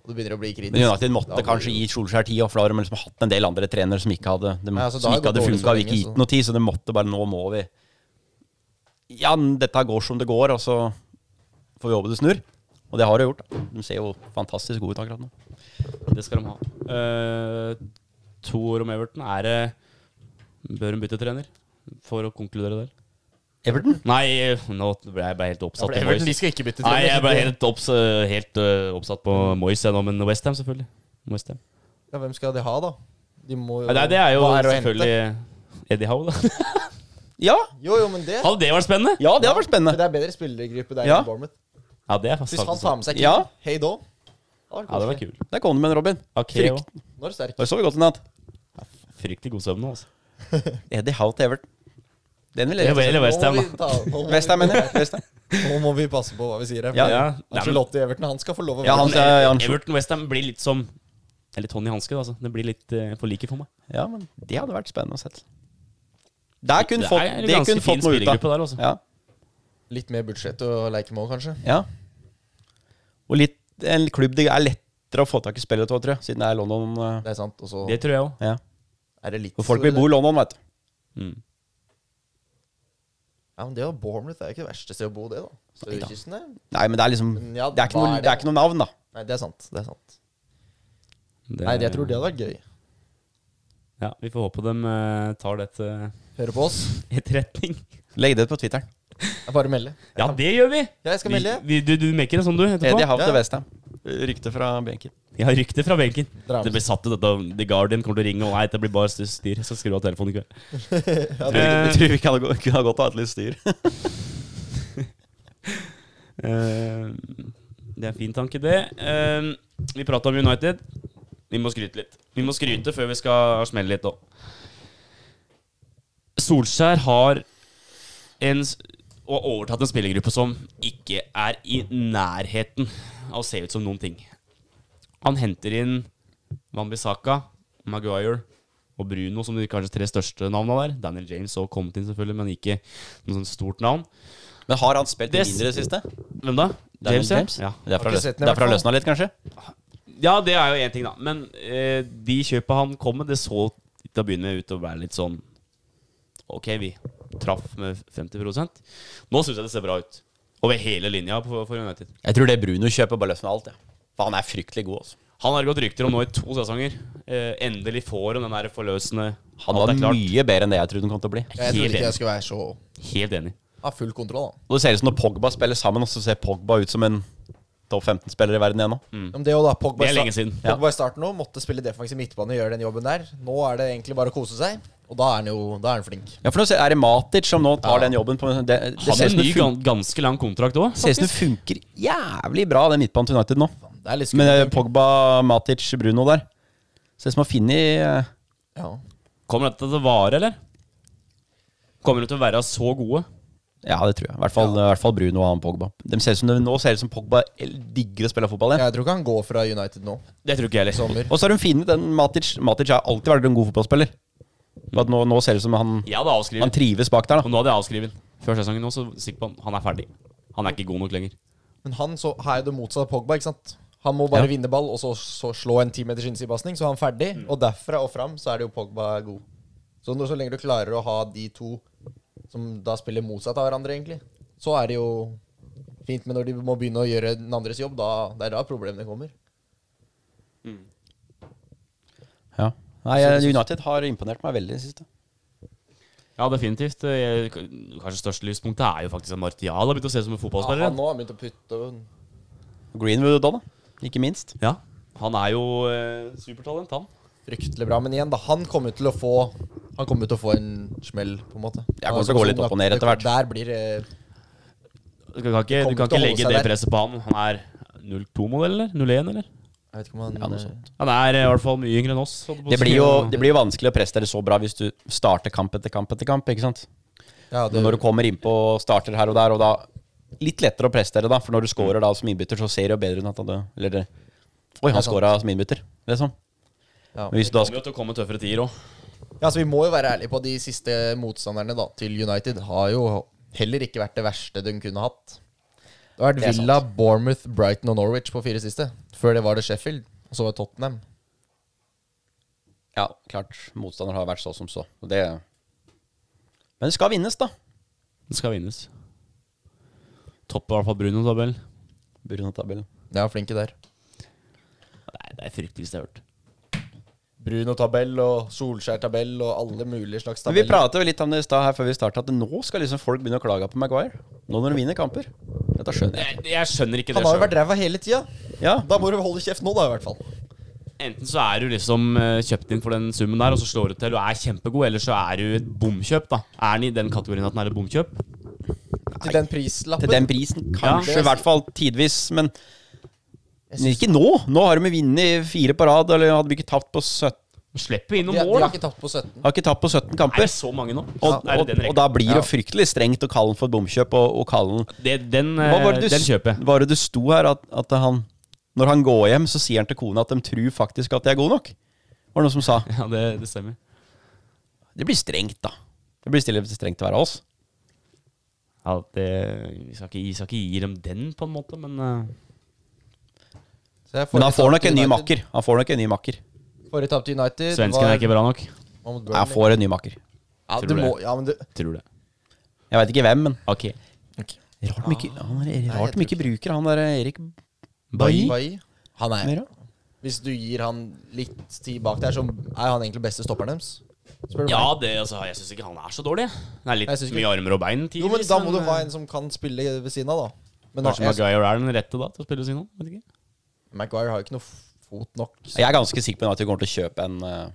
Speaker 4: Og du begynner å bli kritisk.
Speaker 3: Men United måtte
Speaker 4: Da må
Speaker 3: kanskje
Speaker 4: du-
Speaker 3: gi Solskjær tid, og for da har de liksom hatt en del andre trenere som ikke hadde de,
Speaker 4: Nei, altså, da
Speaker 3: Som
Speaker 4: har
Speaker 3: ikke
Speaker 4: det
Speaker 3: hadde
Speaker 4: gått dårlig
Speaker 3: funka,
Speaker 4: så
Speaker 3: og ikke
Speaker 4: lenge,
Speaker 3: gitt
Speaker 4: så-
Speaker 3: noe tid, så de måtte bare Nå må vi Ja, n- dette går som det går, og så får vi håpe det snur. Og det har det gjort. da. De ser jo fantastisk gode ut akkurat nå.
Speaker 2: Det skal de ha. Eh, to år om Everton. Er det Bør hun bytte trener? For å konkludere der.
Speaker 3: Everton?
Speaker 2: Nei, nå ble jeg bare helt
Speaker 4: Ja, for
Speaker 2: oppsatt på
Speaker 4: Everton, de
Speaker 2: Moyes.
Speaker 4: skal ikke bytte
Speaker 2: Nei, jeg ble
Speaker 4: Det- Mm.
Speaker 2: helt, opps helt eh, oppsatt på Moyes jeg nå, men Westham, selvfølgelig. West Ham.
Speaker 4: Ja, hvem skal de ha, da? De må jo
Speaker 2: Nei, det er jo
Speaker 4: Hva å hente?
Speaker 2: selvfølgelig Eddie Howe, da.
Speaker 3: Ja!
Speaker 4: Jo, jo, men det
Speaker 2: Hadde det vært spennende?
Speaker 3: Ja, det hadde vært
Speaker 4: Men
Speaker 3: spennende.
Speaker 4: Det er bedre spillergruppe der
Speaker 3: Ja.
Speaker 4: enn Bournemouth.
Speaker 2: Ja, det er faktisk
Speaker 4: Hvis han tar med seg
Speaker 3: Ja.
Speaker 4: Kim, hei da. Ja,
Speaker 2: Ja, det var kul.
Speaker 3: Der kom du med en, Robin.
Speaker 2: Okay,
Speaker 3: Frykt-
Speaker 2: og
Speaker 4: Nå er du sterk.
Speaker 3: Der så vi godt i natt.
Speaker 2: Fryktelig god søvn nå, altså.
Speaker 3: Eddie Howe til Everton. Den vil jeg
Speaker 2: Eller eller West Ham,
Speaker 4: Nå må
Speaker 2: da.
Speaker 4: vi ta- nå må
Speaker 3: West Ham,
Speaker 4: vi-
Speaker 3: mener jeg. West Ham.
Speaker 4: Nå må vi passe på hva vi sier her. for
Speaker 3: Ja,
Speaker 2: Ja. Nei, men E-
Speaker 4: Ancelotti Everton, han skal få lov å
Speaker 3: Ja, han
Speaker 4: være
Speaker 3: sa ja, han-
Speaker 2: Everton Westham blir litt som Eller Tony Hanske, da, altså. Det blir litt eh, for like for meg.
Speaker 3: ja, men det hadde vært spennende å se. Der kunne
Speaker 2: Det er
Speaker 3: fått,
Speaker 2: en
Speaker 3: det
Speaker 2: ganske
Speaker 3: kunne fått
Speaker 2: fin
Speaker 3: noe ut av.
Speaker 2: spillergruppe der, altså.
Speaker 3: Ja,
Speaker 4: litt mer budsjett å leke med òg, kanskje.
Speaker 3: ja. Og litt, en klubb det er lettere å få tak i spillere av, tror jeg, siden det er London. eh,
Speaker 4: Det er sant. Og så
Speaker 2: Det tror jeg òg.
Speaker 3: Ja.
Speaker 4: er det litt
Speaker 3: Og folk vil bo i London, vet du.
Speaker 2: Mm.
Speaker 4: Ja, men det å Bournemouth er jo ikke det verste stedet å bo, det, da. Sørkysten der.
Speaker 3: Nei, men det er liksom
Speaker 4: Ja,
Speaker 3: Det er ikke
Speaker 4: hva
Speaker 3: noe,
Speaker 4: er det?
Speaker 3: det er ikke noe navn, da.
Speaker 4: Nei, det er sant. Det er sant.
Speaker 2: Det-
Speaker 4: Nei, jeg tror det hadde vært gøy.
Speaker 2: Ja, vi får håpe de eh, tar det til
Speaker 4: Høre på oss.
Speaker 2: etterretning.
Speaker 3: Legg det ut på Twitteren.
Speaker 4: Jeg bare melde.
Speaker 2: Ja, det gjør vi!
Speaker 4: Ja, jeg skal
Speaker 2: Vi-
Speaker 4: melde.
Speaker 2: Vi, du, du mekker det sånn, du? etterpå?
Speaker 3: Eddie Howe til
Speaker 4: Ja.
Speaker 3: Westham. Rykte fra benken.
Speaker 2: Jeg har rykte fra benken.
Speaker 4: Dra med.
Speaker 2: Det blir satt ut dette The Guardian kommer til å ringe, og nei, det blir bare styr. Jeg skal skru av telefonen i kveld.
Speaker 3: Jeg tror, ikke- jeg tror vi kunne ha- kunne ha godt av et litt styr.
Speaker 2: Eh, det er en fin tanke, det. Eh, vi prata om United. Vi må skryte litt. Vi må skryte før vi skal smelle litt òg. Solskjær har en, s- og overtatt en spillergruppe som ikke er i nærheten av å se ut som noen ting. Han henter inn Wanbisaka, Maguire og Bruno, som de kanskje tre største navnene der. Daniel James også kommet inn, selvfølgelig, men ikke noe sånn stort navn.
Speaker 3: Men har han spilt
Speaker 2: Det-
Speaker 3: mindre i det siste?
Speaker 2: Hvem da?
Speaker 3: Daniel
Speaker 2: ja? Ja.
Speaker 3: Det er
Speaker 4: Har
Speaker 3: fra,
Speaker 4: ikke
Speaker 3: løs,
Speaker 4: sett den i
Speaker 3: det er fra
Speaker 4: hvert fall.
Speaker 3: løsna litt, kanskje?
Speaker 2: ja, det er jo én ting, da. Men eh, de kjøpa han kom med, det så til å begynne med ut til å være litt sånn Ok, vi traff med 50 Nå syns jeg det ser bra ut. Over hele linja for, for United.
Speaker 3: Jeg tror det Bruno kjøper, bare løsner alt. Ja. For han er fryktelig god, altså.
Speaker 2: Han har det gått rykter om nå i to sesonger. Eh, endelig får han den der forløsende
Speaker 3: Han
Speaker 2: Alt
Speaker 3: var
Speaker 2: er klart.
Speaker 3: mye bedre enn det jeg trodde han kom til å bli.
Speaker 4: Jeg trodde
Speaker 2: Helt
Speaker 4: ikke
Speaker 2: enig.
Speaker 4: jeg skulle være så
Speaker 2: Helt enig.
Speaker 4: Ha full kontroll, da.
Speaker 3: Og Det ser ut som når Pogba spiller sammen, og så ser Pogba ut som en topp 15-spiller i verden igjen nå.
Speaker 4: Om det, også, da.
Speaker 2: Mm. Det
Speaker 4: Pogba,
Speaker 2: er
Speaker 4: i sta-
Speaker 2: lenge siden.
Speaker 4: Pogba i starten nå måtte spille defensiv midtbane og gjøre den jobben der. Nå er det egentlig bare å kose seg, og da er han jo da er han flink.
Speaker 3: Ja, for nå ser- er det Matic som nå tar den jobben på Det, det
Speaker 2: Han
Speaker 3: ser
Speaker 2: har
Speaker 3: ut
Speaker 2: en
Speaker 3: som
Speaker 2: ny
Speaker 3: det fun-
Speaker 2: gan ganske lang kontrakt òg.
Speaker 3: ser ut som det funker jævlig bra, den midtbanen til United nå.
Speaker 4: Det er litt
Speaker 3: Med
Speaker 4: skummelt.
Speaker 3: eh, Pogba, Matic, Bruno der. Ser ut som han har funnet eh,
Speaker 4: Ja.
Speaker 2: Kommer dette til å vare, eller? Kommer de til å være så gode?
Speaker 3: Ja, det tror jeg. I hvert fall, i hvert fall Bruno og han Pogba. De ser ut som, nå ser det ut som Pogba el- digger å spille fotball igjen.
Speaker 4: Jeg tror ikke han går fra United nå.
Speaker 2: Det tror ikke jeg
Speaker 4: i
Speaker 2: heller.
Speaker 4: Sommer.
Speaker 3: Og så har hun funnet den Matic. Matic har alltid vært en god fotballspiller. Men At nå, nå ser det ut som han,
Speaker 2: Jeg hadde
Speaker 3: han
Speaker 2: avskrevet.
Speaker 3: trives bak der.
Speaker 2: Og
Speaker 3: da
Speaker 2: nå hadde jeg avskrevet. Før sesongen nå, så er jeg sikker på han. Han er ferdig. Han er ikke god nok lenger.
Speaker 4: Men han så, har jo det motsatte av Pogba, ikke sant? Han må bare vinne ball, og så, så slå en timeters innsidepasning, så er han ferdig.
Speaker 2: Mm.
Speaker 4: Og derfra og fram så er det jo Pogba er god. Så når så lenge du klarer å ha de to som da spiller motsatt av hverandre, egentlig, så er det jo fint. Men når de må begynne å gjøre den andres jobb, da, det er da problemene kommer.
Speaker 3: Ja. Nei, eh, United har imponert meg veldig i det siste.
Speaker 2: Ja, definitivt. Jeg, kanskje største lyspunktet er jo faktisk at Martial har begynt å se ut som en
Speaker 4: Ja,
Speaker 2: fotballspiller.
Speaker 4: han
Speaker 2: igjen.
Speaker 4: nå har begynt å putte og
Speaker 3: Greenwood da, da. Ikke minst.
Speaker 2: Ja, han er jo eh, supertalent, han.
Speaker 4: fryktelig bra. Men igjen, da, han kommer jo til å få Han kommer jo til å få en smell, på en måte.
Speaker 3: Ja, kommer til å gå litt opp og ned etter hvert.
Speaker 4: Der blir det
Speaker 2: Du kan ikke, du
Speaker 4: Kommer
Speaker 2: kan ikke
Speaker 4: til å holde
Speaker 2: legge
Speaker 4: seg
Speaker 2: det
Speaker 4: der.
Speaker 2: presset på han. Han er 02-modell, eller? 01, eller?
Speaker 4: Jeg vet ikke om han
Speaker 3: Ja, noe sånt.
Speaker 2: Han er eh, i hvert fall mye yngre enn oss. holdt jeg på å
Speaker 3: Det blir
Speaker 2: si.
Speaker 3: jo det blir jo vanskelig å prestere så bra hvis du starter kamp etter kamp etter kamp. ikke sant?
Speaker 4: eh, Ja,
Speaker 3: Men
Speaker 4: det,
Speaker 3: Når du kommer innpå og starter her og der, og da Litt lettere å prestere, da, for når du scorer da som innbytter, så ser det jo bedre ut enn at du Eller det- Oi, han
Speaker 4: sant.
Speaker 3: scora som innbytter, liksom.
Speaker 4: ja.
Speaker 3: Men hvis du da
Speaker 2: Det kommer jo til å komme tøffere tider òg.
Speaker 4: Ja, så Vi må jo være ærlige på at de siste motstanderne da, til United har jo heller ikke vært det verste de kunne hatt. Det har
Speaker 3: Det er
Speaker 4: vært Villa, Bournemouth, Brighton og Norwich på fire siste. Før det var det Sheffield, og så var det Tottenham.
Speaker 3: Ja, klart. Motstander har vært så som så. Og det Men det skal vinnes, da.
Speaker 2: Den skal vinnes. Topper i hvert fall Bruno-tabell.
Speaker 3: Bruno-tabellen.
Speaker 4: Ja, flinke der.
Speaker 2: Nei, det er fryktelig jeg har hørt.
Speaker 4: Bruno-tabell og Solskjær-tabell og alle mulige slags
Speaker 3: Men vi
Speaker 4: tabeller.
Speaker 3: pratet jo litt om det i stad her før vi starta, at nå skal liksom folk begynne å klage på Maguire. Nå når de vinner kamper. Dette skjønner jeg.
Speaker 2: Jeg, jeg skjønner ikke det.
Speaker 4: Han har jo
Speaker 2: selv.
Speaker 4: vært ræva hele tida.
Speaker 3: Ja,
Speaker 4: Da må du holde kjeft nå, da, i hvert fall.
Speaker 2: Enten så er du liksom eh, kjøpt inn for den summen der, og så slår du til og er kjempegod, eller så er du et bomkjøp, da. Er han i den kategorien at han er et bomkjøp?
Speaker 4: Til den prislappen.
Speaker 3: til den prisen, kanskje.
Speaker 4: Ja.
Speaker 3: I hvert fall tidvis, men
Speaker 4: Jeg
Speaker 3: men
Speaker 4: synes-
Speaker 3: ikke nå. Nå har de vunnet fire på rad, eller hadde vi ikke tapt på 17
Speaker 2: Slipper inn
Speaker 4: de,
Speaker 2: noen
Speaker 4: de
Speaker 2: mål,
Speaker 4: har
Speaker 2: da.
Speaker 4: ikke tapt på 17.
Speaker 3: Har ikke tapt på 17
Speaker 2: Er det
Speaker 3: kamper.
Speaker 2: så mange nå?
Speaker 3: Og,
Speaker 2: er
Speaker 3: og,
Speaker 2: det den
Speaker 3: og
Speaker 2: rekka?
Speaker 3: da blir det fryktelig strengt å kalle han for et bomkjøp, og, og kalle han
Speaker 2: Det, den, eh,
Speaker 3: Hva var det du,
Speaker 2: den kjøper jeg.
Speaker 3: Var det du sto her at, at han Når han går hjem, så sier han til kona at de tror faktisk at de er gode nok? Var det noen som sa.
Speaker 2: Ja, det, det stemmer.
Speaker 3: Det blir strengt, da. Det blir stille strengt å være oss.
Speaker 2: Ja, det, vi, skal ikke, vi skal ikke gi dem den, på en måte, men eh,
Speaker 4: Så jeg
Speaker 3: Men han
Speaker 4: forrige
Speaker 3: får
Speaker 4: tap
Speaker 3: nok
Speaker 4: til
Speaker 3: en ny
Speaker 4: United-
Speaker 3: makker. Han får nok en ny makker.
Speaker 4: Forrige tap til United
Speaker 2: svensken er ikke bra nok.
Speaker 4: var mot
Speaker 3: Nei, han
Speaker 4: Burnley.
Speaker 3: får en ny makker.
Speaker 4: Ja,
Speaker 2: Tror
Speaker 4: du
Speaker 2: det.
Speaker 4: må, ja, men du
Speaker 2: Tror det.
Speaker 3: Jeg veit ikke hvem, men
Speaker 2: Ok.
Speaker 3: Rart de ikke, han er,
Speaker 4: jeg
Speaker 3: rart de ikke bruker han der Erik
Speaker 2: Bailly?
Speaker 4: Bailly? Han er
Speaker 3: mer, da.
Speaker 4: Hvis du gir han litt tid bak der, så er han egentlig beste stopperen deres. Spør du
Speaker 2: Ja,
Speaker 4: meg.
Speaker 2: det, altså, jeg syns ikke han er så dårlig. Han er litt
Speaker 4: Jeg synes ikke-
Speaker 2: mye armer og bein.
Speaker 4: Jo, men
Speaker 2: tidvis,
Speaker 4: da må du
Speaker 2: eh,
Speaker 4: ha en som kan spille ved siden av, da. Men da,
Speaker 2: Kanskje Maguire er den rette da til å spille siden av? Vet ikke.
Speaker 4: Maguire har jo ikke noe f- fot nok. så-
Speaker 3: Jeg er ganske sikker på at vi kommer til å kjøpe en, eh,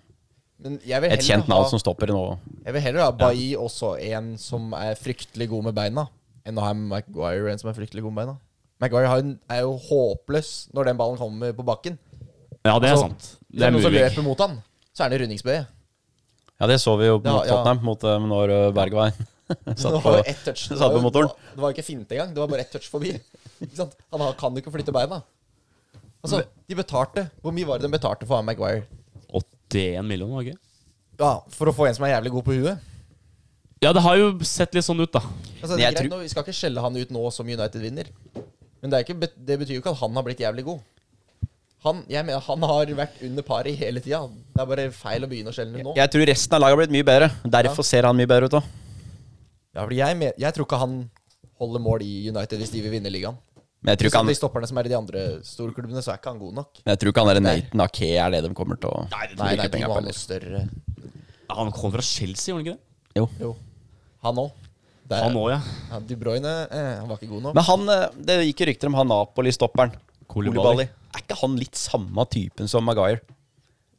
Speaker 4: Men jeg vil
Speaker 3: et
Speaker 4: heller
Speaker 3: kjent
Speaker 4: ha,
Speaker 3: navn som stopper nå.
Speaker 4: Jeg vil heller ha Bailly også en som er fryktelig god med beina, enn å ha Maguire en som er fryktelig god med beina. Maguire har jo- er jo håpløs når den ballen kommer på bakken.
Speaker 2: Ja, det er
Speaker 4: Altså,
Speaker 2: sant.
Speaker 4: Hvis
Speaker 2: Det er
Speaker 4: noen som
Speaker 2: mulig.
Speaker 4: løper mot han, så er det rundingsbøye.
Speaker 3: Ja, det så vi jo
Speaker 4: Ja,
Speaker 3: mot
Speaker 4: ja.
Speaker 3: Tottenham, mot eh, når eh, Bergwijn satt
Speaker 4: Det
Speaker 3: på,
Speaker 4: var jo ett touch.
Speaker 3: satt
Speaker 4: Det var
Speaker 3: på
Speaker 4: jo-
Speaker 3: motoren.
Speaker 4: Det var jo ikke finte engang. Det var bare ett touch forbi. Ikke sant? Han har- kan jo ikke flytte beina. Altså, de betalte. Hvor mye var det de betalte for han Maguire?
Speaker 2: 81 millioner, var det ikke?
Speaker 4: Ja, For å få en som er jævlig god på huet?
Speaker 2: Ja, det har jo sett litt sånn ut, da.
Speaker 4: Altså, det
Speaker 3: Men
Speaker 4: er
Speaker 3: jeg
Speaker 4: greit,
Speaker 3: tror-
Speaker 4: nå, Vi skal ikke skjelle han ut nå som United vinner. Men det, er ikke, bet- det betyr jo ikke at han har blitt jævlig god. Han, jeg mener, han har vært under paret hele tida. Det er bare feil å begynne å skjelle ham ut nå.
Speaker 3: Jeg tror resten av laget har blitt mye bedre. Derfor ser han mye bedre ut òg.
Speaker 4: Ja, fordi jeg, men- jeg tror ikke han holder mål i United hvis de vil vinne ligaen.
Speaker 3: Men jeg tror
Speaker 4: Hvis
Speaker 3: ikke han,
Speaker 4: de stopperne som er i de andre storklubbene, så er ikke han god nok.
Speaker 3: men jeg tror ikke han der Nathan Ake er det de kommer til å
Speaker 2: Nei, det
Speaker 4: Nei,
Speaker 3: bruke
Speaker 4: nei, de
Speaker 3: penger på.
Speaker 4: må ha noe
Speaker 3: eller?
Speaker 4: større
Speaker 2: Ja, Han kom fra Chelsea, gjorde han ikke det?
Speaker 3: Jo.
Speaker 4: Jo. Han òg.
Speaker 3: Eh,
Speaker 2: Han òg, ja.
Speaker 4: Ja, De Bruyne eh, han var ikke god nok.
Speaker 3: Men han, eh, det gikk jo rykter om han Napoli-stopperen.
Speaker 2: Koulibaly.
Speaker 3: Koulibaly. Er ikke han litt samme typen som Maguire?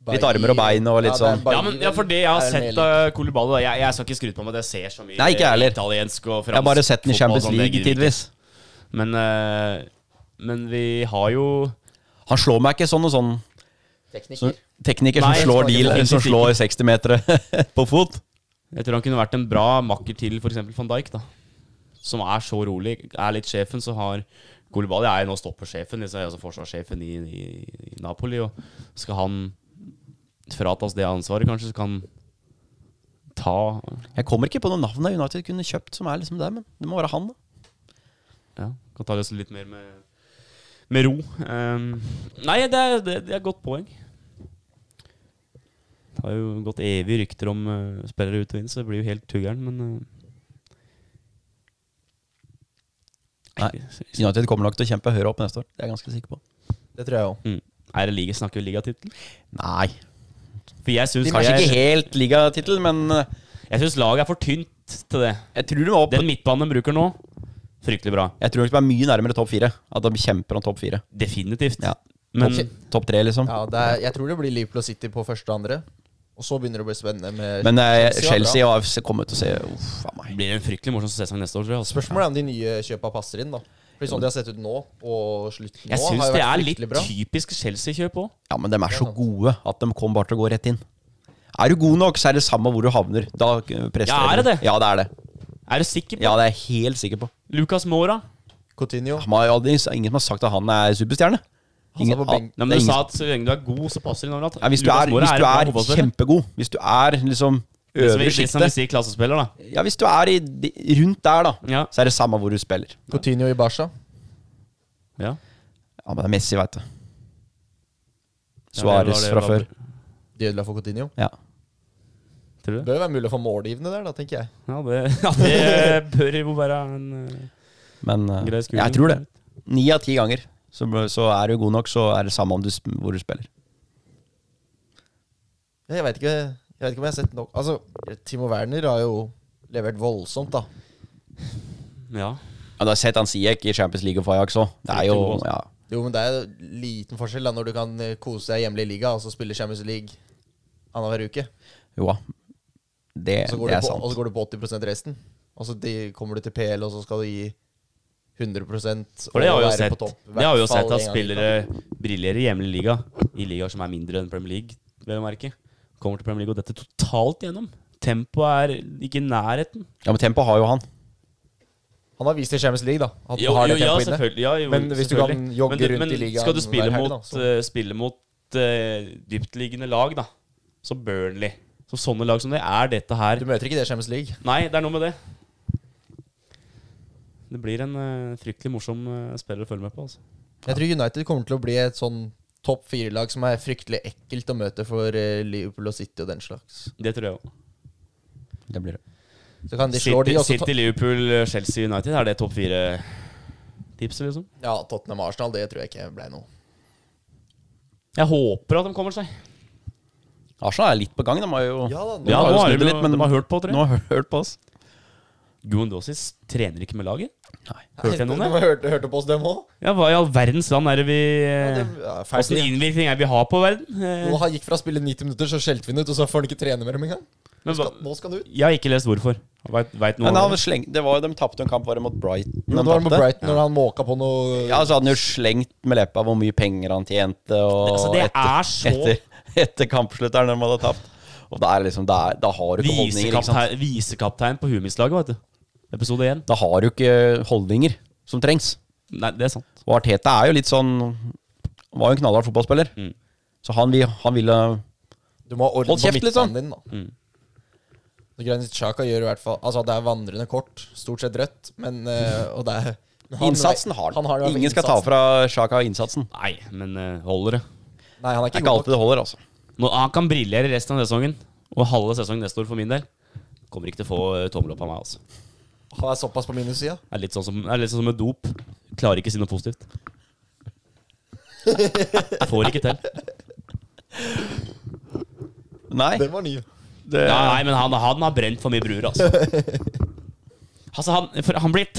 Speaker 3: litt
Speaker 4: Bailly-
Speaker 3: armer og bein og litt
Speaker 4: det er
Speaker 3: sånn.
Speaker 4: Bailly
Speaker 2: Ja, men, ja, for det jeg har
Speaker 4: er mer
Speaker 2: sett
Speaker 4: lik.
Speaker 2: av Kolibali jeg, jeg skal ikke skryte på meg at jeg ser så mye
Speaker 3: Nei, ikke jeg heller.
Speaker 2: italiensk og fransk
Speaker 3: Jeg har bare sett den i
Speaker 2: fotball,
Speaker 3: Champions
Speaker 2: sånn, det
Speaker 3: League
Speaker 2: gidder jeg ikke.
Speaker 3: tidvis.
Speaker 2: Men, eh, men vi har jo
Speaker 3: Han slår meg ikke sånn og sånn. Så,
Speaker 4: Tekniker.
Speaker 3: tekniker
Speaker 2: Nei,
Speaker 3: som slår,
Speaker 2: jeg
Speaker 3: deal,
Speaker 2: smaker
Speaker 3: som slår 60-metere på fot.
Speaker 2: Jeg tror han kunne vært en bra makker til f.eks. van Dijk, da. Som er så rolig. Er litt sjefen, så har Kolibali er jo nå stoppersjefen, liksom, altså forsvarssjefen i, i, i Napoli. Og skal han fratas det ansvaret, kanskje, så kan han ta
Speaker 3: Jeg kommer ikke på noen navn av United kunne kjøpt som er liksom der, men det må være han. da
Speaker 2: Ja, kan ta det litt mer med, med ro. Ehm, nei, det er, det, det er et godt poeng. Det har jo gått evige rykter om eh, spillere ut og inn, så det blir jo helt tuggeren, men eh,
Speaker 3: Nei. United kommer nok til å kjempe høyere opp neste år. Det er jeg ganske sikker på.
Speaker 4: Det tror jeg òg.
Speaker 2: Mm. Er det liga, snakker vi ligatittel?
Speaker 3: Nei.
Speaker 2: For jeg syns
Speaker 3: Kanskje ikke
Speaker 2: jeg,
Speaker 3: helt ligatittel, men eh,
Speaker 2: jeg synes laget er for tynt til det.
Speaker 3: jeg tror de var opp
Speaker 2: Den midtbanen de bruker nå, fryktelig bra.
Speaker 3: Jeg tror nok de er mye nærmere topp fire. At de kjemper om topp fire.
Speaker 2: Definitivt.
Speaker 3: Ja.
Speaker 2: Men
Speaker 3: Topp- Topp tre, liksom.
Speaker 4: Ja, det er, jeg tror det blir Liverpool og City på første og andre. Og så begynner det å bli spennende med
Speaker 3: Men eh,
Speaker 4: Chelsea var
Speaker 3: Chelsea
Speaker 4: bra.
Speaker 3: og AFC kommer til å se Uff a meg.
Speaker 2: det blir en fryktelig morsom sesong neste år, tror jeg. altså.
Speaker 4: Spørsmålet er om de nye kjøpa passer inn, da. Fordi sånn de har sett ut nå, og slutten nå,
Speaker 2: Jeg syns
Speaker 4: har jo
Speaker 2: det er
Speaker 4: vært
Speaker 2: litt
Speaker 4: fryktelig bra.
Speaker 2: typisk Chelsea-kjøp òg.
Speaker 3: Ja, men de er så gode at de kommer bare til å gå rett inn. Er du god nok, så er det samme hvor du havner. Da eh, presterer
Speaker 2: Ja, er det
Speaker 3: du.
Speaker 2: det?
Speaker 3: Ja, det er det.
Speaker 2: Er du sikker på
Speaker 3: Ja, det er jeg helt sikker på.
Speaker 2: Lucas Mora?
Speaker 4: Coutinho.
Speaker 3: Han har jo aldri, ingen som har sagt at han er superstjerne.
Speaker 4: Han
Speaker 3: Ingen-
Speaker 4: satt på benk.
Speaker 2: Nei,
Speaker 3: det
Speaker 2: men
Speaker 3: er
Speaker 2: du
Speaker 3: ingen-
Speaker 2: sa at så lenge du er god, så passer det overalt.
Speaker 3: ja, hvis du er, hvis du er kjempegod, hvis du er liksom øvre
Speaker 2: Hvis vi
Speaker 3: sjiktet
Speaker 2: sier klassespiller, da.
Speaker 3: Ja, hvis du er i, de- rundt der, da,
Speaker 2: Ja.
Speaker 3: så er det samme hvor du spiller.
Speaker 4: Coutinho i Barca.
Speaker 2: Ja.
Speaker 3: Ja, men det er Messi, veit du. Suárez fra før.
Speaker 4: De ødela for Coutinho.
Speaker 3: Ja.
Speaker 2: Tror
Speaker 4: Det
Speaker 2: du?
Speaker 4: bør jo være mulig å få målgivende der, da, tenker jeg.
Speaker 2: Ja, det, ja, det bør jo være en eh,
Speaker 3: Men eh,
Speaker 2: grei skuring.
Speaker 3: jeg tror det. Ni av ti ganger så, så er du god nok, så er det samme om du, sp- hvor du spiller.
Speaker 4: Jeg vet ikke, jeg vet ikke om jeg har sett nok Altså, Timo Werner har jo levert voldsomt, da.
Speaker 2: Ja.
Speaker 3: Ja, du har sett han Siek i Champions League og Fajax òg. Det er jo
Speaker 2: altså.
Speaker 3: ja.
Speaker 4: Jo, men det er jo liten forskjell da når du kan eh, kose deg hjemme i liga og så spille Champions League annenhver uke.
Speaker 3: Jo da. Det,
Speaker 4: Og så går,
Speaker 3: det er
Speaker 4: du, på, og så
Speaker 3: sant.
Speaker 4: går du på 80 resten. Og så de, kommer du til PL, og så skal du gi 100
Speaker 2: For det har vi
Speaker 4: og
Speaker 2: jo
Speaker 4: være
Speaker 2: sett.
Speaker 4: på topp, i
Speaker 2: Det har vi jo
Speaker 4: hvert fall
Speaker 2: sett at
Speaker 4: en gang i
Speaker 2: spillere briljerer i hjemlig liga, i ligaer som er mindre enn Premier League, vel å merke. Kommer til Premier League og detter totalt gjennom. Tempoet er ikke i nærheten.
Speaker 3: Ja, men tempo har jo han.
Speaker 4: uka. Han har vist i Champions League, da. At
Speaker 2: Jo,
Speaker 4: han har
Speaker 2: jo,
Speaker 4: det
Speaker 2: ja,
Speaker 4: tempoet inne.
Speaker 2: selvfølgelig. Ja, jo,
Speaker 4: Men hvis du
Speaker 2: selvfølgelig.
Speaker 4: kan jogge
Speaker 2: Men du-
Speaker 4: rundt
Speaker 2: men
Speaker 4: i ligaen
Speaker 2: Skal du
Speaker 4: hver
Speaker 2: spille
Speaker 4: helg,
Speaker 2: mot,
Speaker 4: da, så-
Speaker 2: eh, spille mot eh, dyptliggende lag, da, som Burnley Som sånne lag som det, er dette her
Speaker 4: Du møter ikke det i Champions League.
Speaker 2: Nei, det er noe med det. Det blir en eh, fryktelig morsom eh, spiller å følge med på. Altså.
Speaker 4: Jeg tror United kommer til å bli et sånn topp fire-lag som er fryktelig ekkelt å møte for eh, Liverpool og City og den slags.
Speaker 2: Det tror jeg òg.
Speaker 3: Det blir det.
Speaker 4: Så kan de slå
Speaker 2: City,
Speaker 4: de, og så
Speaker 2: City, Liverpool, eh, Chelsea, United. Er det topp fire-tipset, liksom?
Speaker 4: ta- Ja, Tottenham og Arsenal, det tror jeg ikke ble noe.
Speaker 2: Jeg håper at de kommer seg.
Speaker 3: Arsenal er litt på gang. De har jo
Speaker 4: Ja da, nå
Speaker 3: de
Speaker 2: Ja,
Speaker 3: har
Speaker 2: nå
Speaker 3: jo
Speaker 2: har
Speaker 3: snudd
Speaker 2: de,
Speaker 3: litt, men
Speaker 2: de har hørt på, tror
Speaker 3: nå
Speaker 2: jeg.
Speaker 3: har de hørt på oss.
Speaker 2: Guendousis trener ikke med laget.
Speaker 3: Nei.
Speaker 2: Hørte jeg noen
Speaker 4: Nei,
Speaker 2: det?
Speaker 4: de hørte, hørte på oss, dem òg?
Speaker 2: Ja, Hva i all verdens land er det vi eh,
Speaker 4: Ja, feil.
Speaker 2: Åssen innvirkning er det vi har på verden?
Speaker 4: Nå
Speaker 2: Eh,
Speaker 4: han gikk fra å spille 90 minutter, så skjelte vi den ut, og så får han ikke trene med dem engang.
Speaker 2: men,
Speaker 4: Skal,
Speaker 2: hva-
Speaker 4: nå skal han ut.
Speaker 2: jeg har ikke lest hvorfor. Veit veit noe
Speaker 3: Men
Speaker 2: om
Speaker 3: han
Speaker 2: det?
Speaker 3: sleng, det var, jo- de tapte jo en kamp var det mot Brighton.
Speaker 4: Jo,
Speaker 3: de
Speaker 4: det var med
Speaker 3: tapte.
Speaker 4: Brighton når han måka på noe
Speaker 3: Ja, så hadde han jo slengt med leppa hvor mye penger han tjente. Og
Speaker 2: Altså, det er så-
Speaker 3: etter, etter kampslutt der, når de hadde tapt. Og da er liksom, da, er, da har du ikke holdninger. Ikke sant?
Speaker 2: Visekaptein, visekaptein på Humis-laget, vet du. Episode én.
Speaker 3: Da har du ikke holdninger som trengs.
Speaker 2: Nei, det er sant.
Speaker 3: Og Arteta er jo litt sånn var jo en knallhard fotballspiller.
Speaker 2: Mm.
Speaker 3: Så han, vi- han ville
Speaker 4: Du må ha orden
Speaker 3: Hold
Speaker 4: på
Speaker 3: kjeft, liksom.
Speaker 4: midtbanen din, da.
Speaker 2: Mm.
Speaker 4: Så Granit Xhaka gjør i hvert fall Altså, det er vandrende kort, stort sett rødt, men eh, Og det er men han-
Speaker 3: Mm. Innsatsen har han.
Speaker 4: i hvert fall
Speaker 3: Ingen skal ta
Speaker 4: innsatsen.
Speaker 3: fra Sjaka innsatsen.
Speaker 2: Nei, men eh, holder det.
Speaker 4: Nei, han er
Speaker 3: Det er ikke
Speaker 4: ikke, god nok.
Speaker 3: alltid det holder, altså.
Speaker 2: Nå, han kan briljere resten av sesongen. Og halve sesongen neste år for min del. Kommer ikke til å få eh, tommel opp av meg, altså.
Speaker 4: Han er såpass på minussida.
Speaker 2: Det er litt sånn som, det er litt sånn som med dop. Klarer ikke å si noe positivt. Får ikke til.
Speaker 3: Nei.
Speaker 4: Den var ny.
Speaker 3: Det,
Speaker 2: Ja, nei, men han, han har brent for mye bruer, altså. Altså, han, for, han blitt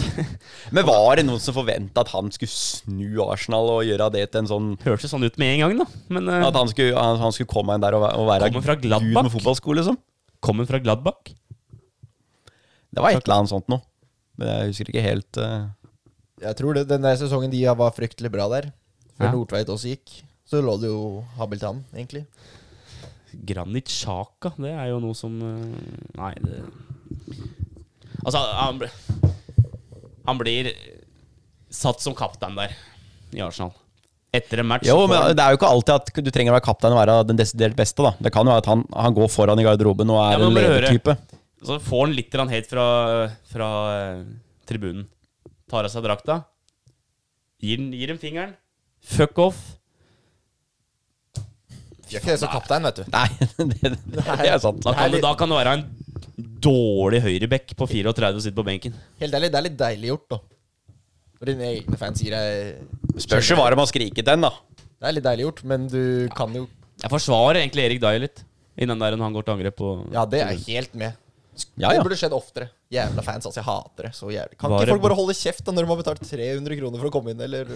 Speaker 3: Men var det noen som forventa at han skulle snu Arsenal og gjøre det til en sånn
Speaker 2: Hørtes sånn ut med en gang, da. Men eh,
Speaker 3: At han skulle, han, han skulle komme inn der og væ- og være
Speaker 2: Komme fra
Speaker 3: gud
Speaker 2: Gladbach?
Speaker 3: med fotballsko, liksom?
Speaker 2: kom han fra Gladbach?
Speaker 3: Det var et eller annet sånt noe. Men jeg husker ikke helt eh.
Speaker 4: Jeg tror det, den der sesongen de var fryktelig bra der, før
Speaker 2: Ja.
Speaker 4: Nordtveit også gikk, så lå det jo habilt an, egentlig.
Speaker 2: Granit Xhaka, det er jo noe som eh, Nei, det Altså, han, ble, han blir satt som kaptein der i Arsenal. Etter en match
Speaker 3: Jo,
Speaker 2: så får
Speaker 3: men
Speaker 2: han-
Speaker 3: det er jo ikke alltid at du trenger å være kaptein og være den desidert beste, da. Det kan jo være at han, han går foran i garderoben og
Speaker 2: Ja,
Speaker 3: er
Speaker 2: men
Speaker 3: en
Speaker 2: bare høre.
Speaker 3: ledertype.
Speaker 2: Så får han litt grann hate fra, fra eh, tribunen. Tar av seg drakta. Gir, den- gir dem fingeren. Fuck off.
Speaker 4: Gjør ikke det som kaptein, vet du.
Speaker 3: Nei, det, det er sant.
Speaker 2: Da kan,
Speaker 4: Herlig.
Speaker 2: det, da kan det være en dårlig høyrebekk på 34 og sitter på benken.
Speaker 4: Helt ærlig, det er litt deilig gjort, da. Når dine egne fans sier deg
Speaker 3: Spørs jo hva de har skriket den, da.
Speaker 4: Det er litt deilig gjort, men du kan jo
Speaker 2: Jeg forsvarer egentlig Erik Dye litt. Innen der han går til angrep på
Speaker 4: Ja, det er jeg helt med.
Speaker 3: Ja, ja.
Speaker 4: Det burde skjedd oftere. Jævla fans, altså. Jeg hater det så jævlig. Kan
Speaker 2: Var det-
Speaker 4: ikke folk bare holde kjeft da når de har betalt 300 kroner for å komme inn, eller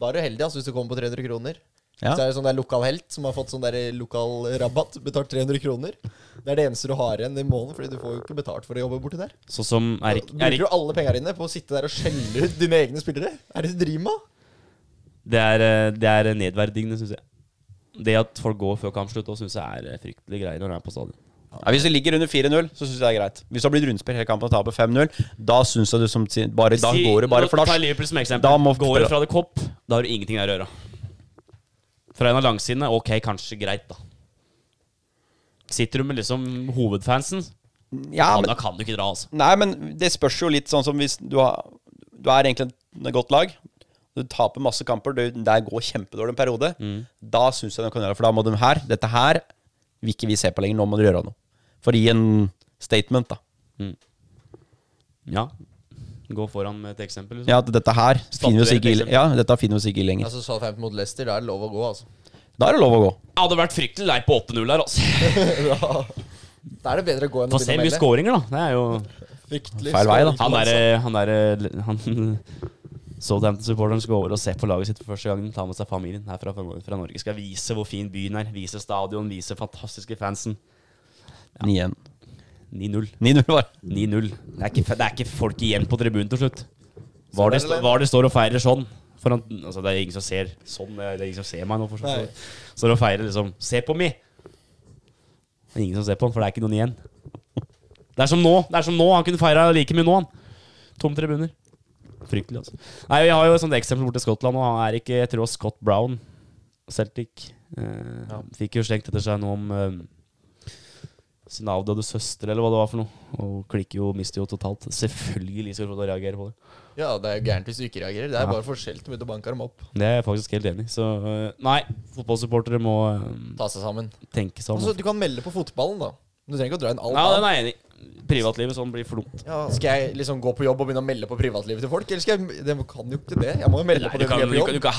Speaker 4: Da er du heldig, altså, hvis du kommer på 300 kroner.
Speaker 3: Ja.
Speaker 4: Så er det sånn der lokal helt som har fått sånn der lokal rabatt, betalt 300 kroner. Det er det eneste du har igjen i måneden, fordi du får jo ikke betalt for å jobbe borti der.
Speaker 2: Sånn som Erik,
Speaker 4: Bruker
Speaker 2: Erik
Speaker 4: du alle pengene dine på å sitte der og skjelle ut dine egne spillere? Er det du driver med?
Speaker 2: det, er, eh, det er nedverdigende, syns jeg. Det at folk går før kampslutt, også syns jeg er eh, fryktelig greie når de er på stadion.
Speaker 3: Ja, hvis du ligger under 4-0, så syns jeg det er greit. Hvis du har blitt rundspill hele kampen og taper 5-0, da syns jeg du som sin- bare, Da
Speaker 2: Si-
Speaker 3: går det bare
Speaker 2: nå tar jeg
Speaker 3: flash.
Speaker 2: Liverpool som eksempel.
Speaker 3: Da må-
Speaker 2: går det fra det kopp, da har du ingenting der å gjøre. Fra en av langsidene, ok, kanskje greit, da. Sitter du med liksom hovedfansen,
Speaker 3: Ja,
Speaker 2: ja,
Speaker 3: men
Speaker 2: da kan du ikke dra, altså.
Speaker 3: Nei, men det spørs jo litt sånn som hvis du, har, du er egentlig et godt lag. Du taper masse kamper, du, der går kjempedårlig en periode. Da syns jeg de kan gjøre det, for da må de her Dette her vil ikke vi se på lenger. Nå må dere gjøre noe. For å gi en statement, da.
Speaker 2: Ja. Gå foran med et eksempel. Liksom.
Speaker 3: Ja, at dette her finner vi oss ikke i,
Speaker 2: eksempel.
Speaker 3: ja, dette finner vi oss ikke i lenger.
Speaker 4: Altså, Southampton mot Leicester, da er det lov å gå, altså.
Speaker 3: Da er det lov å gå.
Speaker 2: Jeg hadde vært fryktelig lei på 8-0 der, altså.
Speaker 4: da, da er det bedre å gå enn å
Speaker 2: Få se mye
Speaker 4: begynne å melde.
Speaker 2: skåringer, da. Det er jo
Speaker 4: Fryktelig
Speaker 3: Feil vei, da.
Speaker 2: Han derre Han derre Han Southampton-supporteren skal over og se på laget sitt for første gangen. Ta med seg familien her fra, fra Norge. Skal vise hvor fin byen er. Vise stadion, vise fantastiske fansen.
Speaker 3: 9-1.
Speaker 2: 9-0.
Speaker 3: 9-0 var det.
Speaker 2: 9-0. Det, er ikke- det er ikke folk igjen på tribunen til slutt. Hva
Speaker 4: Sånn
Speaker 2: det,
Speaker 4: er det,
Speaker 2: sto-
Speaker 4: Leif.
Speaker 2: hva det står og feirer sånn foran, altså Det er ingen som ser sånn. Det er det er ingen som ser meg nå. For
Speaker 4: Nei.
Speaker 2: sånn. Står og feirer liksom 'Se på meg!' Det er ingen som ser på han, for det er ikke noen igjen. Det er som nå. det er som nå, Han kunne feira like mye nå, han. Tom tribuner. Fryktelig, altså. Nei, Vi har jo et sånt eksempel borte i Skottland, og han er ikke Jeg tror Scott Brown, Celtic, eh, fikk jo slengt etter seg noe om eh, sin avdøde søster, eller hva det var for noe. Og klikker jo, mister jo totalt. Selvfølgelig skal du få lov til å reagere på det.
Speaker 4: Ja, det er jo gærent hvis du ikke reagerer. Det er
Speaker 2: Ja.
Speaker 4: bare forskjellig om du banker dem opp.
Speaker 2: Det er jeg faktisk helt enig i. Så øh, nei, fotballsupportere må øh,
Speaker 4: Ta seg sammen.
Speaker 2: tenke seg om.
Speaker 4: Altså, du kan melde på fotballen, da. Du trenger ikke å dra inn alt
Speaker 2: ja, den
Speaker 4: annet.
Speaker 2: er jeg enig i. Privatlivet sånn blir for dumt.
Speaker 4: Ja, skal jeg liksom gå på jobb og begynne å melde på privatlivet til folk? Eller skal jeg De kan jo ikke det. Jeg må jo melde
Speaker 2: Nei,
Speaker 4: på
Speaker 2: du
Speaker 4: det
Speaker 2: kan
Speaker 4: når jeg er
Speaker 2: du
Speaker 4: på
Speaker 2: kan- du
Speaker 4: jobb.
Speaker 2: kan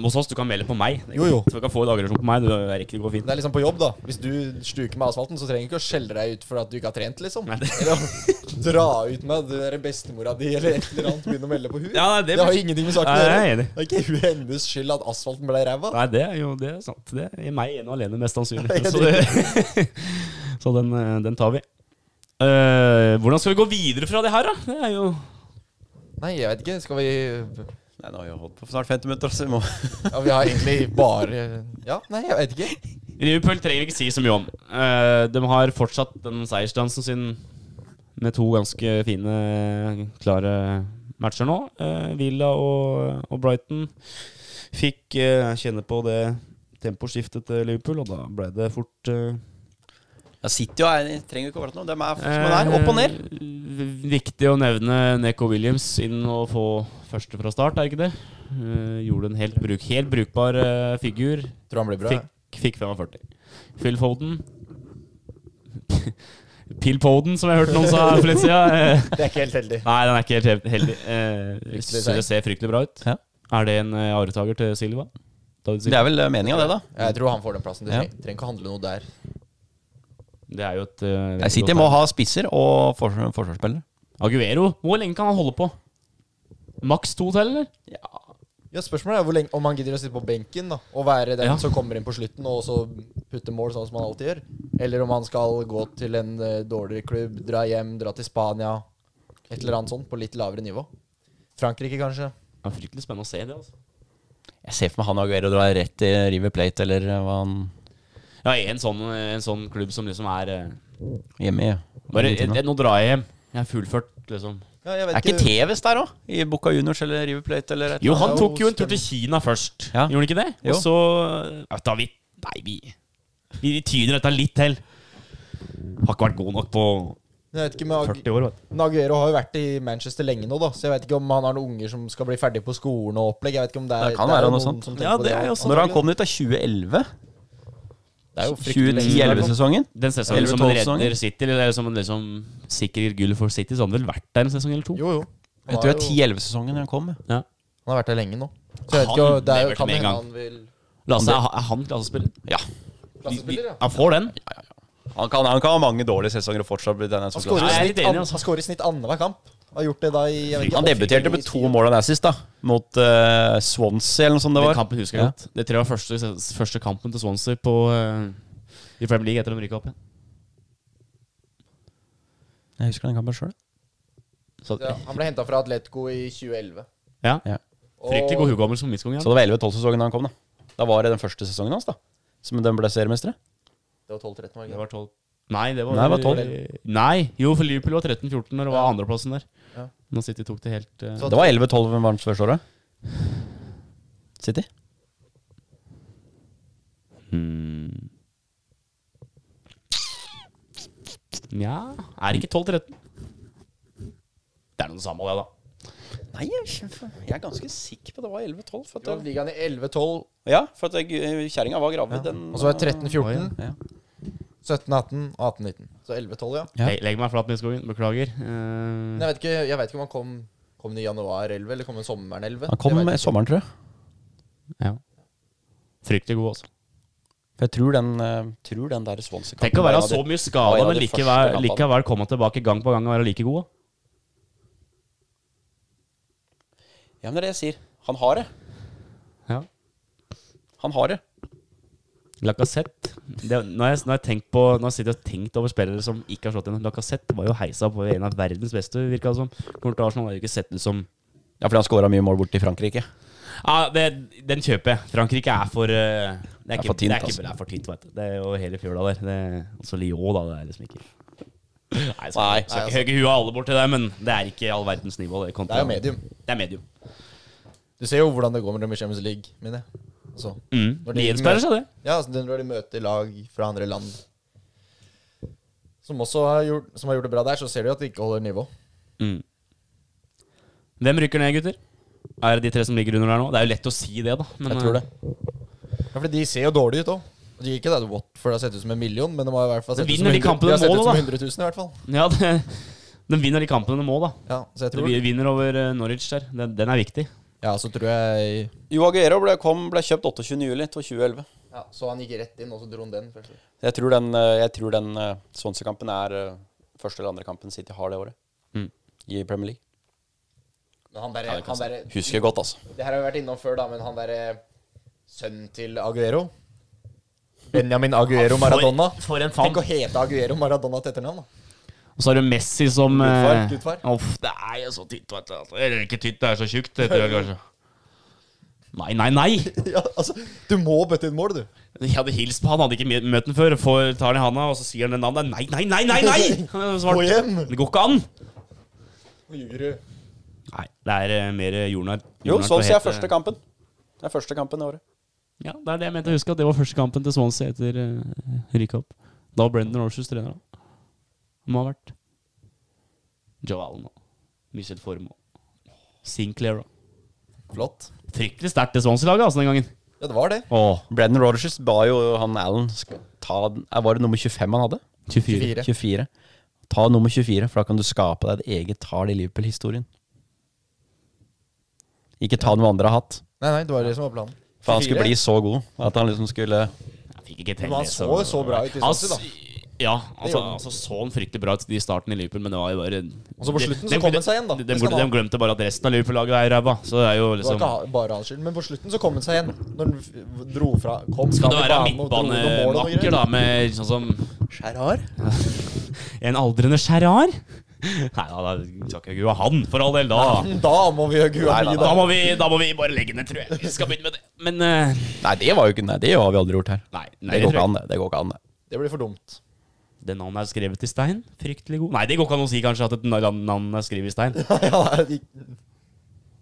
Speaker 2: her hos oss. Du kan melde på meg. Det er
Speaker 4: Jo, jo.
Speaker 2: greit. Du kan få dagreaksjon på meg. Du det er ikke, det går fint.
Speaker 4: Det er liksom på jobb, da. Hvis du stuker med asfalten, så trenger du ikke å skjelle deg ut for at du ikke har trent, liksom.
Speaker 2: Nei, det-
Speaker 4: Eller å dra ut med at du er bestemora di eller et eller annet, begynne å melde på hun.
Speaker 2: Ja, nei, det
Speaker 4: det,
Speaker 2: blir-
Speaker 4: har jo ingenting med saken
Speaker 2: Nei,
Speaker 4: å
Speaker 2: jeg er
Speaker 4: gjøre.
Speaker 2: enig.
Speaker 4: Det er ikke hun hennes skyld at asfalten ble ræva.
Speaker 2: Nei, det er jo det er sant. Det er meg ene og alene, mest sannsynlig.
Speaker 4: Ja,
Speaker 2: Så, det, så den, øh, den tar vi. Øh, hvordan skal vi gå videre fra det her, da? Det er jo
Speaker 4: Nei, jeg vet ikke. Skal vi Ja,
Speaker 3: Nei, nå har vi jo holdt på for snart 50 minutter. Så vi må.
Speaker 4: vi har egentlig bare Ja, nei, jeg vet ikke.
Speaker 2: Liverpool trenger vi ikke si så mye om. Eh, de har fortsatt den seiersdansen sin med to ganske fine, klare matcher nå. Eh, Villa og, og Brighton fikk eh, kjenne på det temposkiftet til Liverpool, og da ble det fort eh,
Speaker 3: Ja, City og er, trenger jo ikke å være noe. De er som de er. Opp og ned.
Speaker 2: Eh, Viktig å nevne Neko Williams inn og få første fra start, er ikke det? Eh, gjorde en helt, bruk, helt brukbar eh, figur.
Speaker 4: Tror han blir bra.
Speaker 2: Fikk, fikk 45. Phil Foden. Pill Poden, som jeg hørte noen sa for litt siden. Eh,
Speaker 4: Det er ikke helt heldig.
Speaker 2: Nei, den er ikke helt heldig. Eh,
Speaker 4: Hvis det
Speaker 2: så det ser fryktelig bra ut.
Speaker 3: Ja.
Speaker 2: Er det en eh, arvtaker til Silva? David
Speaker 3: Det
Speaker 2: Silva?
Speaker 3: er vel meninga, det, da.
Speaker 4: Jeg tror han får den plassen. Du
Speaker 3: Ja.
Speaker 4: trenger, trenger ikke å handle noe der.
Speaker 2: Det er jo et eh,
Speaker 3: Nei, City
Speaker 2: godt
Speaker 3: må
Speaker 2: tegn.
Speaker 3: ha spisser og fors forsvarsspillere.
Speaker 2: Aguero, hvor lenge kan han holde på? Maks to til, eller?
Speaker 4: Ja, Spørsmålet er hvor lenge, om han gidder å sitte på benken da og være den
Speaker 2: Ja.
Speaker 4: som kommer inn på slutten og så putte mål, sånn som han alltid gjør. Eller om han skal gå til en eh, dårligere klubb, dra hjem, dra til Spania. Et eller annet sånt på litt lavere nivå. Frankrike, kanskje.
Speaker 2: Det er fryktelig spennende å se det, altså.
Speaker 3: Jeg ser for meg han og Aguero drar rett til River Plate eller eh, hva han
Speaker 2: Ja, en sånn, en sånn klubb som liksom er eh,
Speaker 3: hjemme i.
Speaker 2: Bare,
Speaker 3: Argentina.
Speaker 2: eh, nå drar jeg hjem. Jeg er fullført, liksom.
Speaker 4: Ja, jeg vet
Speaker 3: Er ikke TVs der òg? I Boca Juniors eller River Plate eller et
Speaker 2: Jo,
Speaker 3: eller
Speaker 2: han
Speaker 4: Ja,
Speaker 2: tok jo en tur til
Speaker 4: stemmer.
Speaker 2: Kina først.
Speaker 3: Ja.
Speaker 2: Gjorde han ikke det?
Speaker 3: Jo.
Speaker 2: Og så ja, da vi, Nei, vi, vi tyner dette litt til. Har ikke vært god nok på
Speaker 4: Jeg vet ikke med Ag
Speaker 2: 40 år, vet du.
Speaker 4: Men Aguero har jo vært i Manchester lenge nå, da så jeg vet ikke om han har noen unger som skal bli ferdig på skolen og opplegg. Jeg vet ikke om Det er,
Speaker 3: Det kan
Speaker 4: er
Speaker 3: være
Speaker 4: jo
Speaker 3: noe
Speaker 4: noen
Speaker 3: sånt.
Speaker 4: som tenker
Speaker 2: Ja,
Speaker 4: på
Speaker 2: det er jo
Speaker 3: Når han
Speaker 2: sånn.
Speaker 3: kom ut av 2011?
Speaker 4: Det er jo fryktelig lenge siden.
Speaker 3: 2010-11-sesongen?
Speaker 2: Den sesongen som han
Speaker 3: 11-12
Speaker 2: redder City, eller som en liksom sikker gull for City, så har han vel vært der en sesong eller to?
Speaker 4: Jo, jo.
Speaker 3: Jeg tror det er 10-11-sesongen han kom.
Speaker 2: Ja.
Speaker 4: han har vært der lenge nå. Så
Speaker 2: Han
Speaker 4: jeg vet ikke, det er,
Speaker 2: lever
Speaker 4: jo- kan
Speaker 2: som en
Speaker 4: hende
Speaker 2: gang.
Speaker 4: han vil
Speaker 2: Lasse, er, er han klassespiller?
Speaker 3: Ja.
Speaker 4: Klassespiller, ja.
Speaker 2: Han får den.
Speaker 3: Han kan, han kan ha mange dårlige sesesonger og fortsatt bli den som
Speaker 4: Han
Speaker 2: Nei, jeg
Speaker 4: skårer i
Speaker 2: er
Speaker 4: snitt,
Speaker 2: litt enig,
Speaker 4: an-
Speaker 2: altså.
Speaker 4: han skårer i snitt annenhver kamp. Har gjort det da i jeg vet ikke,
Speaker 3: Han
Speaker 4: åtte-
Speaker 3: debuterte med
Speaker 4: ni-
Speaker 3: to
Speaker 4: ti-
Speaker 3: mål og en assist, da. Mot eh, Swansea eller noe sånt det
Speaker 2: Den
Speaker 3: var.
Speaker 2: kampen husker jeg
Speaker 3: Ja.
Speaker 2: godt. Det tror jeg var første, første kampen til Swansea på, eh, i Premier League etter at de rykka opp igjen.
Speaker 3: Jeg husker den kampen sjøl.
Speaker 2: Så,
Speaker 4: Ja, han ble henta fra Atletico i 2011.
Speaker 2: ja.
Speaker 3: Ja.
Speaker 4: Og-
Speaker 2: Fryktelig god hukommelse som midtskong.
Speaker 3: Så det var 11-12-sesongen han kom, da. Da var det den første sesongen hans, da. Som de ble seriemestere.
Speaker 4: Det var 12-13 var det
Speaker 2: Det
Speaker 4: ikke det?
Speaker 2: var 12. Nei, det var
Speaker 3: Nei, det var 12.
Speaker 2: Nei, jo, for Liverpool var 13-14 når det var
Speaker 4: Ja.
Speaker 2: andreplassen der.
Speaker 4: Ja.
Speaker 2: Nå City tok det helt eh,
Speaker 4: Så-
Speaker 3: Det var 11-12 hvem var hans første året. City?
Speaker 2: hmm. Nja Er det ikke 12-13? Det er noe samme, det, da.
Speaker 3: Nei, jeg er ganske sikker på det var 11-12. For
Speaker 4: Jo, Ligaen i 11-12,
Speaker 3: ja, for at eh, kjerringa var gravid den
Speaker 4: og så var det 13-14,
Speaker 3: ja.
Speaker 4: 17-18 og 18-19. Så 11-12, ja.
Speaker 3: Ja.
Speaker 2: Hey, legg meg flat, Midtskogen. Beklager. Eh,
Speaker 4: Men Jeg vet ikke, jeg vet ikke om han kom Kom den i januar 11, eller kom den sommeren 11?
Speaker 3: Han kom
Speaker 4: Jeg
Speaker 3: i
Speaker 4: vet ikke.
Speaker 3: sommeren, tror jeg.
Speaker 2: ja. Fryktelig god, altså.
Speaker 3: For jeg tror den, eh, tror den der Swansea-kampen
Speaker 2: Tenk å
Speaker 3: var
Speaker 2: være
Speaker 3: en av de-
Speaker 2: så mye
Speaker 3: var
Speaker 2: skada,
Speaker 3: en av
Speaker 2: men
Speaker 3: de første
Speaker 2: likevel,
Speaker 3: kampene.
Speaker 2: likevel komme tilbake gang på gang og være like god.
Speaker 3: Ja, men det er det jeg sier. Han har det.
Speaker 2: Ja.
Speaker 3: Han har det.
Speaker 2: Lacassette det, når, jeg, når, jeg tenkt på, når jeg sitter og tenkt over spillere som ikke har slått gjennom Lacassette var jo heisa på en av verdens beste, virka det som. Kommer til Arsenal har jo ikke sett ut som
Speaker 3: Ja, fordi han skåra mye mål borte i Frankrike.
Speaker 2: Ja, det, Den kjøper jeg. Frankrike er for eh, Det er, ikke,
Speaker 3: for tynt,
Speaker 2: det er,
Speaker 3: altså.
Speaker 2: ikke, det er for tynt, vet du. Det er jo hele fjøla der. Det, også Lyon, da. Det er liksom ikke Nei, så,
Speaker 3: Nei,
Speaker 2: så ikke høye huet alle borti der, men det er ikke all verdens nivå. Det, kontra-
Speaker 4: Det er jo medium.
Speaker 2: Det er medium.
Speaker 4: Du ser jo hvordan det går med dem i Champions League, mener jeg. Altså,
Speaker 2: Mm.
Speaker 4: Når de
Speaker 2: Det gjenspeiler seg, det.
Speaker 4: ja, altså, når de møter lag fra andre land som også har gjort, som har gjort det bra der, så ser du at de ikke holder nivå.
Speaker 2: Mm. Hvem rykker ned, gutter? Er det de tre som ligger under der nå? Det er jo lett å si det, da. Men, eh,
Speaker 3: Jeg tror det.
Speaker 4: Ja, fordi de ser jo dårlige ut òg. Det er ikke det at Watford har sett ut som en million, men de har i hvert fall
Speaker 2: Men
Speaker 4: sett ut som
Speaker 2: vinner de
Speaker 4: 100
Speaker 2: kampene
Speaker 4: har sett
Speaker 2: målet,
Speaker 4: ut som
Speaker 2: da?
Speaker 4: 100 000, i hvert fall.
Speaker 2: eh, Ja, det, den vinner de kampene de må, da.
Speaker 4: Ja, så, jeg
Speaker 2: De
Speaker 4: tror,
Speaker 2: vi- vinner over eh, Norwich der. Den, den er viktig.
Speaker 4: ja, så tror jeg
Speaker 3: Jo Aguero ble, kom, ble kjøpt 28.07.2011.
Speaker 4: ja, Så han gikk rett inn, og så dro han den først.
Speaker 3: Jeg tror den, eh, jeg tror den eh, Swansea-kampen er eh, første eller andre kampen City har det året.
Speaker 2: Mm.
Speaker 3: I Premier League.
Speaker 4: Men han derre han derre-
Speaker 3: Husker godt, altså.
Speaker 4: Det her har vi vært innom før, da, men han derre sønnen til Aguero Benjamin Aguero Maradona.
Speaker 2: Ah, For, for en fan.
Speaker 4: Tenk å hete Aguero Maradona til etternavn, da.
Speaker 2: Og så er det Messi som
Speaker 4: Gudfar,
Speaker 2: eh,
Speaker 4: gudfar.
Speaker 2: Uff, det er jo så tynt, vet du. Altså. Eller ikke tynt, det er så tjukt, heter det kanskje. Nei, nei, nei!
Speaker 4: Ja, altså, du må bøtte inn mål, du.
Speaker 2: Jeg hadde hilst på han, hadde ikke mø- møtt han før. Får, tar han i handa, og så sier han det navnet. Nei, nei, nei, nei! nei! Han er
Speaker 4: Gå
Speaker 2: svart.
Speaker 4: hjem!
Speaker 2: Det går ikke an!
Speaker 4: Nå ljuger du.
Speaker 2: Nei, det er eh, mer jordnær.
Speaker 3: Jo,
Speaker 2: Jordnær til
Speaker 3: Swansea
Speaker 2: å
Speaker 3: er
Speaker 4: sånn
Speaker 2: hete-
Speaker 3: første kampen. Det er første kampen i året.
Speaker 1: Ja, det er det jeg mente å huske, at det var første kampen til Swansea etter
Speaker 2: eh,
Speaker 1: uh, opp. Da var Brendan Rogers trener, da. Må ha vært. Joe Allen og Michel Formoe. Sinclair da.
Speaker 4: Flott.
Speaker 1: Fryktelig sterkt det Swansea-laget altså den gangen.
Speaker 4: Ja, det var det.
Speaker 1: Åh,
Speaker 3: Brendan Rogers ba jo han Allen sk- ta den- eh, Var det nummer 25 han hadde?
Speaker 1: 24.
Speaker 4: 24.
Speaker 3: 24. Ta nummer 24, for da kan du skape deg et eget tall i Liverpool-historien. Ikke ta noe andre har hatt.
Speaker 4: Nei, nei, det var det som var planen.
Speaker 3: For han skulle
Speaker 4: 24?
Speaker 3: bli så god at han liksom skulle
Speaker 2: Jeg fikk ikke til
Speaker 4: Men han
Speaker 2: det,
Speaker 4: så jo så bra ut i
Speaker 2: Han
Speaker 4: Swansea, da.
Speaker 2: s- Ja, altså,
Speaker 4: gjorde han.
Speaker 2: altså så han fryktelig bra ut i starten i Liverpool, men det var jo bare
Speaker 4: Og så på
Speaker 2: de-
Speaker 4: slutten så
Speaker 2: de-
Speaker 4: kom
Speaker 2: de-
Speaker 4: han seg igjen, da.
Speaker 2: De, de,
Speaker 4: Det skal
Speaker 2: de,
Speaker 4: han ha.
Speaker 2: glemte bare at resten av Liverpool-laget er ræva. Så det er jo
Speaker 4: Det var
Speaker 2: liksom
Speaker 4: ikke ha- bare hans skyld, men på slutten så kom han seg igjen. Når han f- dro fra Kom,
Speaker 2: Skal
Speaker 4: skapte
Speaker 2: det være
Speaker 4: banen og dro noen mål og noe
Speaker 2: midtbanemakker,
Speaker 4: greier.
Speaker 2: da, med sånn som
Speaker 4: Gerrard?
Speaker 2: En aldrende Gerrard? Nei da, da skal ikke gua han, for all del, da.
Speaker 4: Da må vi gjøre gua mye,
Speaker 2: Da
Speaker 4: da.
Speaker 2: må, vi, da må vi bare legge ned, tror jeg. Vi skal begynne med det. Men eh,
Speaker 3: Nei, det var jo ikke Nei, det har vi aldri gjort her.
Speaker 2: Nei, nei det tror
Speaker 3: Det går ikke
Speaker 2: jeg.
Speaker 3: an, det. Det går ikke an, det.
Speaker 4: Det blir for dumt.
Speaker 2: ikke. Det navnet er skrevet i stein. Fryktelig god. Nei, det går ikke an å si kanskje at et na- navn er skrevet i stein.
Speaker 4: Ja, nei,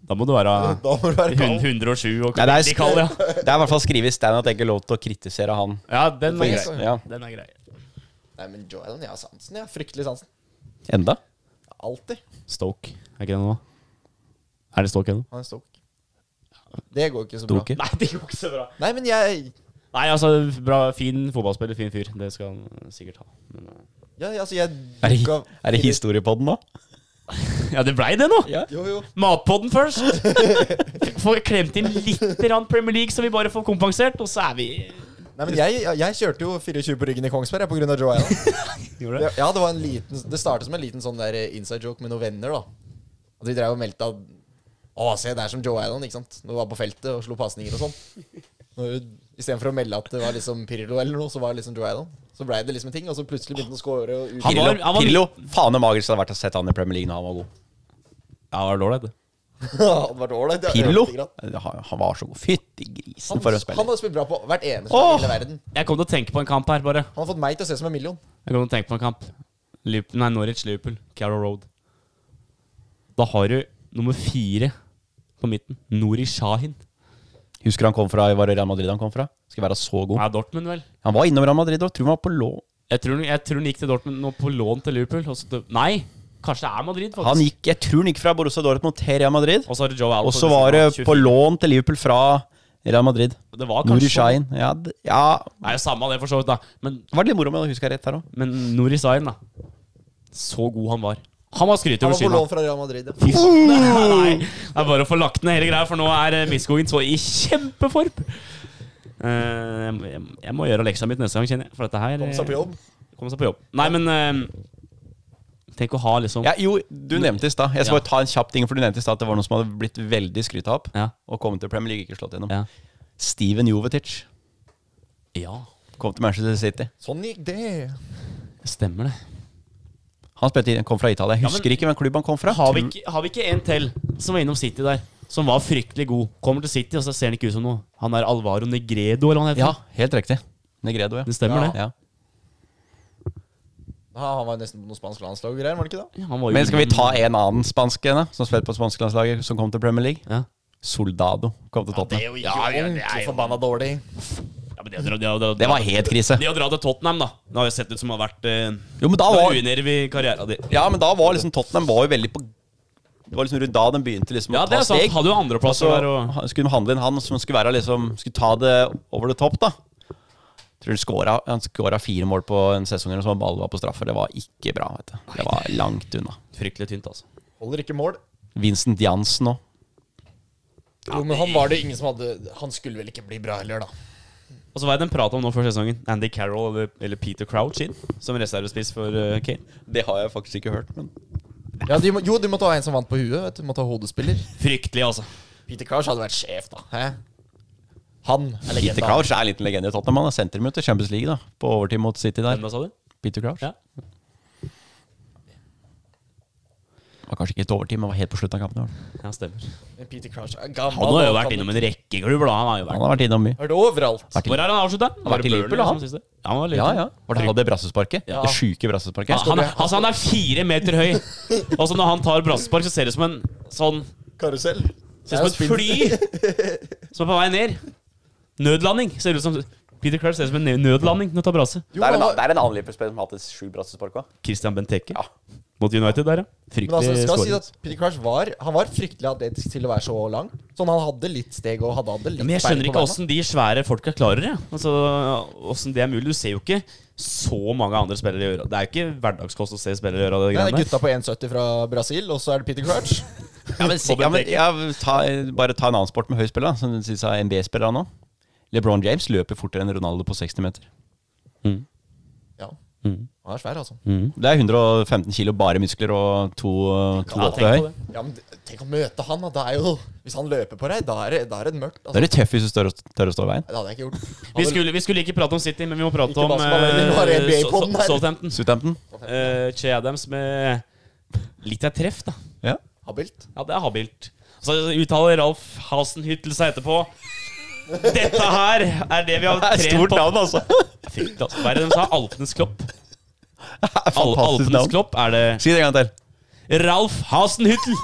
Speaker 2: Da må du være
Speaker 4: da må du være kald.
Speaker 2: 107 og
Speaker 3: Nei, det er-
Speaker 2: veldig kald, ja.
Speaker 3: Det er i hvert fall skrevet i stein at jeg ikke er lov til å kritisere han.
Speaker 2: Ja, den er grei.
Speaker 3: Ja.
Speaker 2: Den er grei.
Speaker 4: Nei, men Joellen, jeg har sansen, jeg. Fryktelig sansen.
Speaker 3: Enda?
Speaker 4: Alltid.
Speaker 2: Stoke, er ikke det noe? Er det Stoke ennå?
Speaker 4: Han er stoke. Det går ikke så bra.
Speaker 3: Doke.
Speaker 2: Nei, det går ikke så bra.
Speaker 4: Nei, men jeg
Speaker 2: Nei, altså, bra, fin fotballspiller, fin fyr. Det skal han sikkert ha. Men, eh,
Speaker 4: Ja, altså, jeg
Speaker 3: Er det,
Speaker 4: dukka-
Speaker 3: er det historiepodden nå?
Speaker 2: ja, det blei det nå!
Speaker 3: Ja.
Speaker 4: Jo, jo.
Speaker 2: Matpodden først! Får klemt inn litt grann Premier League, så vi bare får kompensert, og så er vi
Speaker 4: Nei, men jeg, jeg, jeg kjørte jo 24 på ryggen i Kongsberg jeg, på grunn av Joe Allen.
Speaker 2: Gjorde
Speaker 4: Ja, ja, det var en liten Det startet som en liten sånn der eh, inside joke med noen venner, da. At de drev og meldte at Å, se, det er som Joe Allen, ikke sant. Når du var på feltet og slo pasninger og sånn. Når du- Istedenfor å melde at det var liksom Pirlo eller noe, så var det liksom Joe Allen. Så blei det liksom en ting, og så plutselig begynte han å score. Og ut.
Speaker 2: Han
Speaker 3: Pirlo.
Speaker 2: var- han var-
Speaker 3: Pirlo. Faen så magisk det hadde vært å sett han i Premier League når han var god.
Speaker 2: Ja, det var dårlig, det.
Speaker 4: hadde vært ålreit. ja,
Speaker 3: Pirlo?
Speaker 4: lite grann.
Speaker 3: Han, han var så god. Fytti grisen, for en
Speaker 4: Han, han
Speaker 3: spiller.
Speaker 4: har spilt bra på hvert eneste
Speaker 2: Åh!
Speaker 4: lag i hele verden.
Speaker 2: Jeg kom til å tenke på en kamp her, bare.
Speaker 4: Han har fått meg til å se som en million.
Speaker 2: Jeg kom til å tenke på en kamp. Liverpool, nei, Norwich, Liverpool, Carrow Road. Da har du nummer fire på midten. Nori Shahin.
Speaker 3: Husker han kom fra Var det Real Madrid han kom fra? Skal være så god.
Speaker 2: Er Dortmund, vel?
Speaker 3: Han var innom Real Madrid og tror han var på lå...
Speaker 2: Jeg tror, han- jeg tror han gikk til Dortmund nå på lån til Liverpool. Og så til, nei, kanskje det er Madrid, faktisk.
Speaker 3: Han gikk, jeg tror han gikk fra Borussia Dortmund til Real Madrid.
Speaker 2: Og så er det Joe Allen.
Speaker 3: Og så var det på lån til Liverpool fra Real Madrid.
Speaker 2: Det var kanskje
Speaker 3: Nuri Shahin. Ja, d- ja
Speaker 2: Det er jo samme det, for så vidt, da. Men,
Speaker 3: Det var litt moro om jeg husker rett her òg.
Speaker 2: men Nori Shahin, da. Så god han var. Han var skryt
Speaker 4: Han
Speaker 2: over
Speaker 4: var på
Speaker 2: skylda.
Speaker 4: lån fra Real Madrid. Ja.
Speaker 2: Fy faen. Nei, det er bare å få lagt ned hele greia, for nå er eh, Midtskogen så i kjempeform. Eh, jeg, må- jeg, må- jeg må gjøre leksa mitt neste gang, kjenner jeg. For dette her
Speaker 4: Kom seg på jobb.
Speaker 2: Kom seg på jobb. Nei, men eh, Tenk å ha liksom
Speaker 3: Ja, jo, du nevnte i stad. Jeg skal
Speaker 2: Ja.
Speaker 3: bare ta en kjapp ting, for du nevnte i stad at det var noen som hadde blitt veldig skryta opp
Speaker 2: Ja.
Speaker 3: og kommet til Premier League, ikke slått gjennom.
Speaker 2: Ja.
Speaker 3: Steven Jovetic
Speaker 2: ja.
Speaker 3: kom til Manchester City.
Speaker 4: Sånn gikk det.
Speaker 2: Stemmer det.
Speaker 3: Han spilte, kom fra Italia. Jeg
Speaker 2: Ja,
Speaker 3: husker
Speaker 2: men-
Speaker 3: ikke hvem klubb han kom fra.
Speaker 2: Har vi,
Speaker 3: Tror-
Speaker 2: ikke, har vi ikke en til som var innom City der, som var fryktelig god? Kommer til City, og så ser han ikke ut som noe. Han er Alvaro Negredo, eller hva han heter.
Speaker 3: Ja, helt riktig. Negredo, ja.
Speaker 2: Det stemmer, det.
Speaker 3: Ja.
Speaker 4: Ja, han var nesten på noe spansk landslag og greier, var han ikke det?
Speaker 2: Ja, han var jo-
Speaker 3: Men skal vi ta en annen spansk en, da? Som spilte på spansklandslaget, som kom til Premier League?
Speaker 2: ja.
Speaker 3: Soldado kom til Tottenham.
Speaker 2: jo
Speaker 4: Ja, ordentlig forbanna dårlig.
Speaker 2: Ja, men det, det, det, det,
Speaker 3: Det var helt krise.
Speaker 2: Det å dra til Tottenham, da. Det har jo sett ut som det har vært eh,
Speaker 3: Jo, men da
Speaker 2: det
Speaker 3: var,
Speaker 2: var unerv i karrieren din.
Speaker 3: ja, men da var liksom Tottenham var jo veldig på Det var liksom rundt da den begynte liksom
Speaker 2: Ja,
Speaker 3: å
Speaker 2: det
Speaker 3: ta
Speaker 2: er sant.
Speaker 3: steg. Altså-
Speaker 2: Hadde jo andreplasser der
Speaker 3: Så
Speaker 2: og
Speaker 3: han- skulle de handle inn han som skulle være liksom Skulle ta det over the top, da. Tror du skåra, Han skåra fire mål på en sesong eller noe sånt, ballen var på straffe. Det var ikke bra. vet du Det var langt unna.
Speaker 2: Fryktelig tynt, altså.
Speaker 4: Holder ikke mål.
Speaker 3: Vincent Jansen òg.
Speaker 4: Jo, men han var det ingen som hadde Han skulle vel ikke bli bra heller, da.
Speaker 2: Og så var det en prat om nå før sesongen. Andy Carroll eller, eller Peter Crouch inn som reservespiss for eh, Kane.
Speaker 3: Det har jeg faktisk ikke hørt, men
Speaker 4: Ja, de må, jo, de måtte ha en som vant på huet. Vet du. De måtte ha hodespiller.
Speaker 2: Fryktelig, altså.
Speaker 4: Peter Crouch hadde vært sjef, da. Hæ? Han er
Speaker 3: Peter
Speaker 4: legenda.
Speaker 3: Crouch er en liten legende i Tottenham. Han er senterminutt i Champions League da på overtid mot City der.
Speaker 2: Hvem da, sa du?
Speaker 3: Peter Crouch.
Speaker 2: Ja.
Speaker 3: Var kanskje ikke et overtid, men var helt på slutten av kampen. i hvert fall.
Speaker 2: Ja, stemmer.
Speaker 4: Men Peter Crouch er gammel.
Speaker 2: Han har jo
Speaker 4: og
Speaker 2: vært
Speaker 4: kan-
Speaker 2: innom en rekke klubber, da. Han har jo
Speaker 3: Han
Speaker 2: vært
Speaker 3: har vært innom mye.
Speaker 4: Er det overalt?
Speaker 2: Hvor er han avslutta?
Speaker 3: Var det Liverpool, han?
Speaker 2: som siste? Ja, han var
Speaker 3: Ja,
Speaker 2: Liverpool.
Speaker 3: ja. Var det han hadde brassesparket?
Speaker 4: Ja.
Speaker 3: Det sjuke brassesparket?
Speaker 2: Ja, han, er- altså, han er fire meter høy. Og så når han tar brassespark, så ser det ut som en sånn
Speaker 4: Karusell?
Speaker 2: Ser ut som et fly som er på vei ned. Nødlanding. Ser ut som Peter Crouch ser ut som en nødlanding når han tar brase.
Speaker 4: Jo,
Speaker 3: det, er en,
Speaker 4: men-
Speaker 3: det er en annen Liverpool-spiller som har hatt et sjukt brassespark òg.
Speaker 2: Christian Benteke
Speaker 3: Ja.
Speaker 2: mot United der, ja.
Speaker 4: Men altså, det
Speaker 2: Fryktelig
Speaker 4: skal sies
Speaker 2: scoring.
Speaker 4: at Peter Crouch var Han var fryktelig atletisk til å være så lang. Sånn han hadde litt steg og hadde, hadde litt
Speaker 2: Ja, men jeg
Speaker 4: bein
Speaker 2: skjønner
Speaker 4: på
Speaker 2: ikke
Speaker 4: beina.
Speaker 2: åssen de svære folka klarer det. Altså, åssen det er mulig. Du ser jo ikke så mange andre spillere gjøre det. Det er jo ikke hverdagskost å se spillere gjøre det.
Speaker 4: Nei, det er
Speaker 2: greiene der.
Speaker 4: gutta på 1,70 fra Brasil, og så er det Peter Crouch.
Speaker 3: Ja, men, si- ja, men ja, ta, Bare ta en annen sport med høy spill, da. Som du sier er NBA-spillere nå. LeBron James løper fortere enn Ronaldo på 60 meter.
Speaker 4: Ja.
Speaker 2: Mm.
Speaker 4: Han er svær, altså.
Speaker 3: Det er 115 kilo bare muskler og to, to
Speaker 2: Ja,
Speaker 3: åtte
Speaker 2: tenk
Speaker 3: høy.
Speaker 2: på det.
Speaker 4: Ja, men Tenk å møte han, da. Det er jo Hvis han løper på deg, da er det, da er det mørkt.
Speaker 3: Da
Speaker 4: Altså.
Speaker 3: er du tøff hvis du tør, å- tør å stå i veien.
Speaker 4: Det hadde jeg ikke gjort.
Speaker 2: Vi skulle, vi skulle ikke prate om City, men vi må prate
Speaker 4: Ikke
Speaker 2: om
Speaker 4: basketball heller, nå er det
Speaker 2: eh,
Speaker 4: NBA
Speaker 2: Sau-
Speaker 4: på den
Speaker 2: Sau-
Speaker 4: her.
Speaker 2: Southampton.
Speaker 3: Southampton.
Speaker 2: Eh, Che Adams med litt av treff, da.
Speaker 3: Ja.
Speaker 4: Habilt.
Speaker 2: Ja, det er habilt. Så uttaler Ralf Hasenhyttel seg etterpå. Dette her er det vi har
Speaker 3: Det er
Speaker 2: trent
Speaker 3: stort
Speaker 2: på.
Speaker 3: navn, altså.
Speaker 2: Fint, altså. Hva er det de sa? Alpenes Klopp? Al
Speaker 3: Fantastisk
Speaker 2: Alpenes
Speaker 3: navn.
Speaker 2: Klopp er det
Speaker 3: Si det en gang til.
Speaker 2: Ralf Hasenhyttel!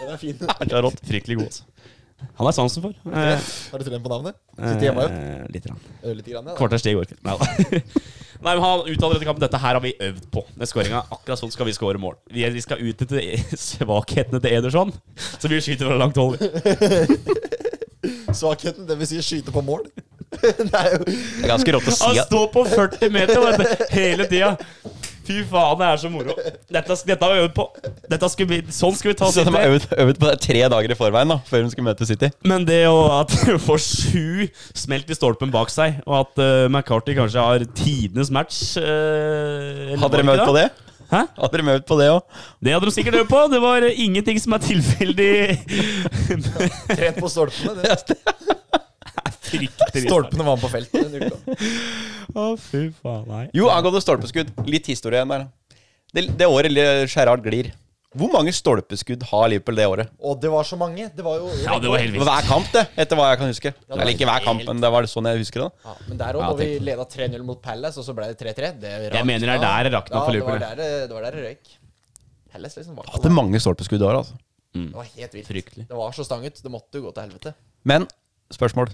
Speaker 4: Den er fin.
Speaker 2: Det er rått. Fryktelig god, altså. Han er sansen for. Eh,
Speaker 4: Har du trent på navnet? Sitter hjemme og
Speaker 2: eh, litt. Rann.
Speaker 4: øver litt. Grann, ja, da.
Speaker 2: Kvarters tid i går kveld. Nei da. Nei, men Han uttaler etter kampen dette her har vi øvd på. Med scoringa. Akkurat sånn skal vi score mål. Vi, vi skal utnytte svakhetene til Ederson, så vi skyter fra langt hold.
Speaker 4: Svakheten, det vil si skyte på mål. det er jo
Speaker 3: Det er ganske rått å
Speaker 2: Han
Speaker 3: si at
Speaker 2: står på 40 meter vet du, hele tida. Fy faen, det er så moro. Dette, sk- dette har vi øvd på. Dette skulle vi, sånn skulle vi ta
Speaker 3: Så de har
Speaker 2: City.
Speaker 3: øvet, øvet på det tre dager i forveien da før de skulle møte City.
Speaker 2: Men det å at du får sju smelt i stolpen bak seg, og at eh, McCarthy kanskje har tidenes match eh, eller
Speaker 3: Hadde
Speaker 2: var
Speaker 3: de øvd
Speaker 2: ikke
Speaker 3: på det?
Speaker 2: Hæ?
Speaker 3: Hadde de øvd på det òg?
Speaker 2: Det hadde de sikkert øvd på. Det var eh, ingenting som er tilfeldig.
Speaker 4: trent på stolpene. Det.
Speaker 2: Fryktelig.
Speaker 4: Stolpene var med på feltet den uka.
Speaker 2: Å, fy faen, nei.
Speaker 3: Jo, angående stolpeskudd. Litt historie igjen der. Det, det året Le- Gerrard glir. Hvor mange stolpeskudd har Liverpool det året?
Speaker 4: Og det var så mange. Det var jo
Speaker 2: Ja, det var helt
Speaker 3: Det
Speaker 2: vilt.
Speaker 3: var hver kamp, det. Etter hva jeg kan huske. Eller ikke hver kamp, men det var sånn jeg husker det. da
Speaker 4: Ja, men der òg,
Speaker 3: Ja,
Speaker 4: når vi leda 3-0 mot Palace, og så ble det 3-3 Det
Speaker 2: Jeg mener det er der det rakna
Speaker 4: ja,
Speaker 2: for
Speaker 4: det var
Speaker 2: Liverpool.
Speaker 4: der det- det var der det røyk. Palace liksom var
Speaker 3: Hadde mange stolpeskudd i år, altså.
Speaker 4: Det var helt vilt.
Speaker 2: Fryktelig.
Speaker 4: Det var så stang ut. Det måtte jo gå til helvete.
Speaker 3: Men spørsmål.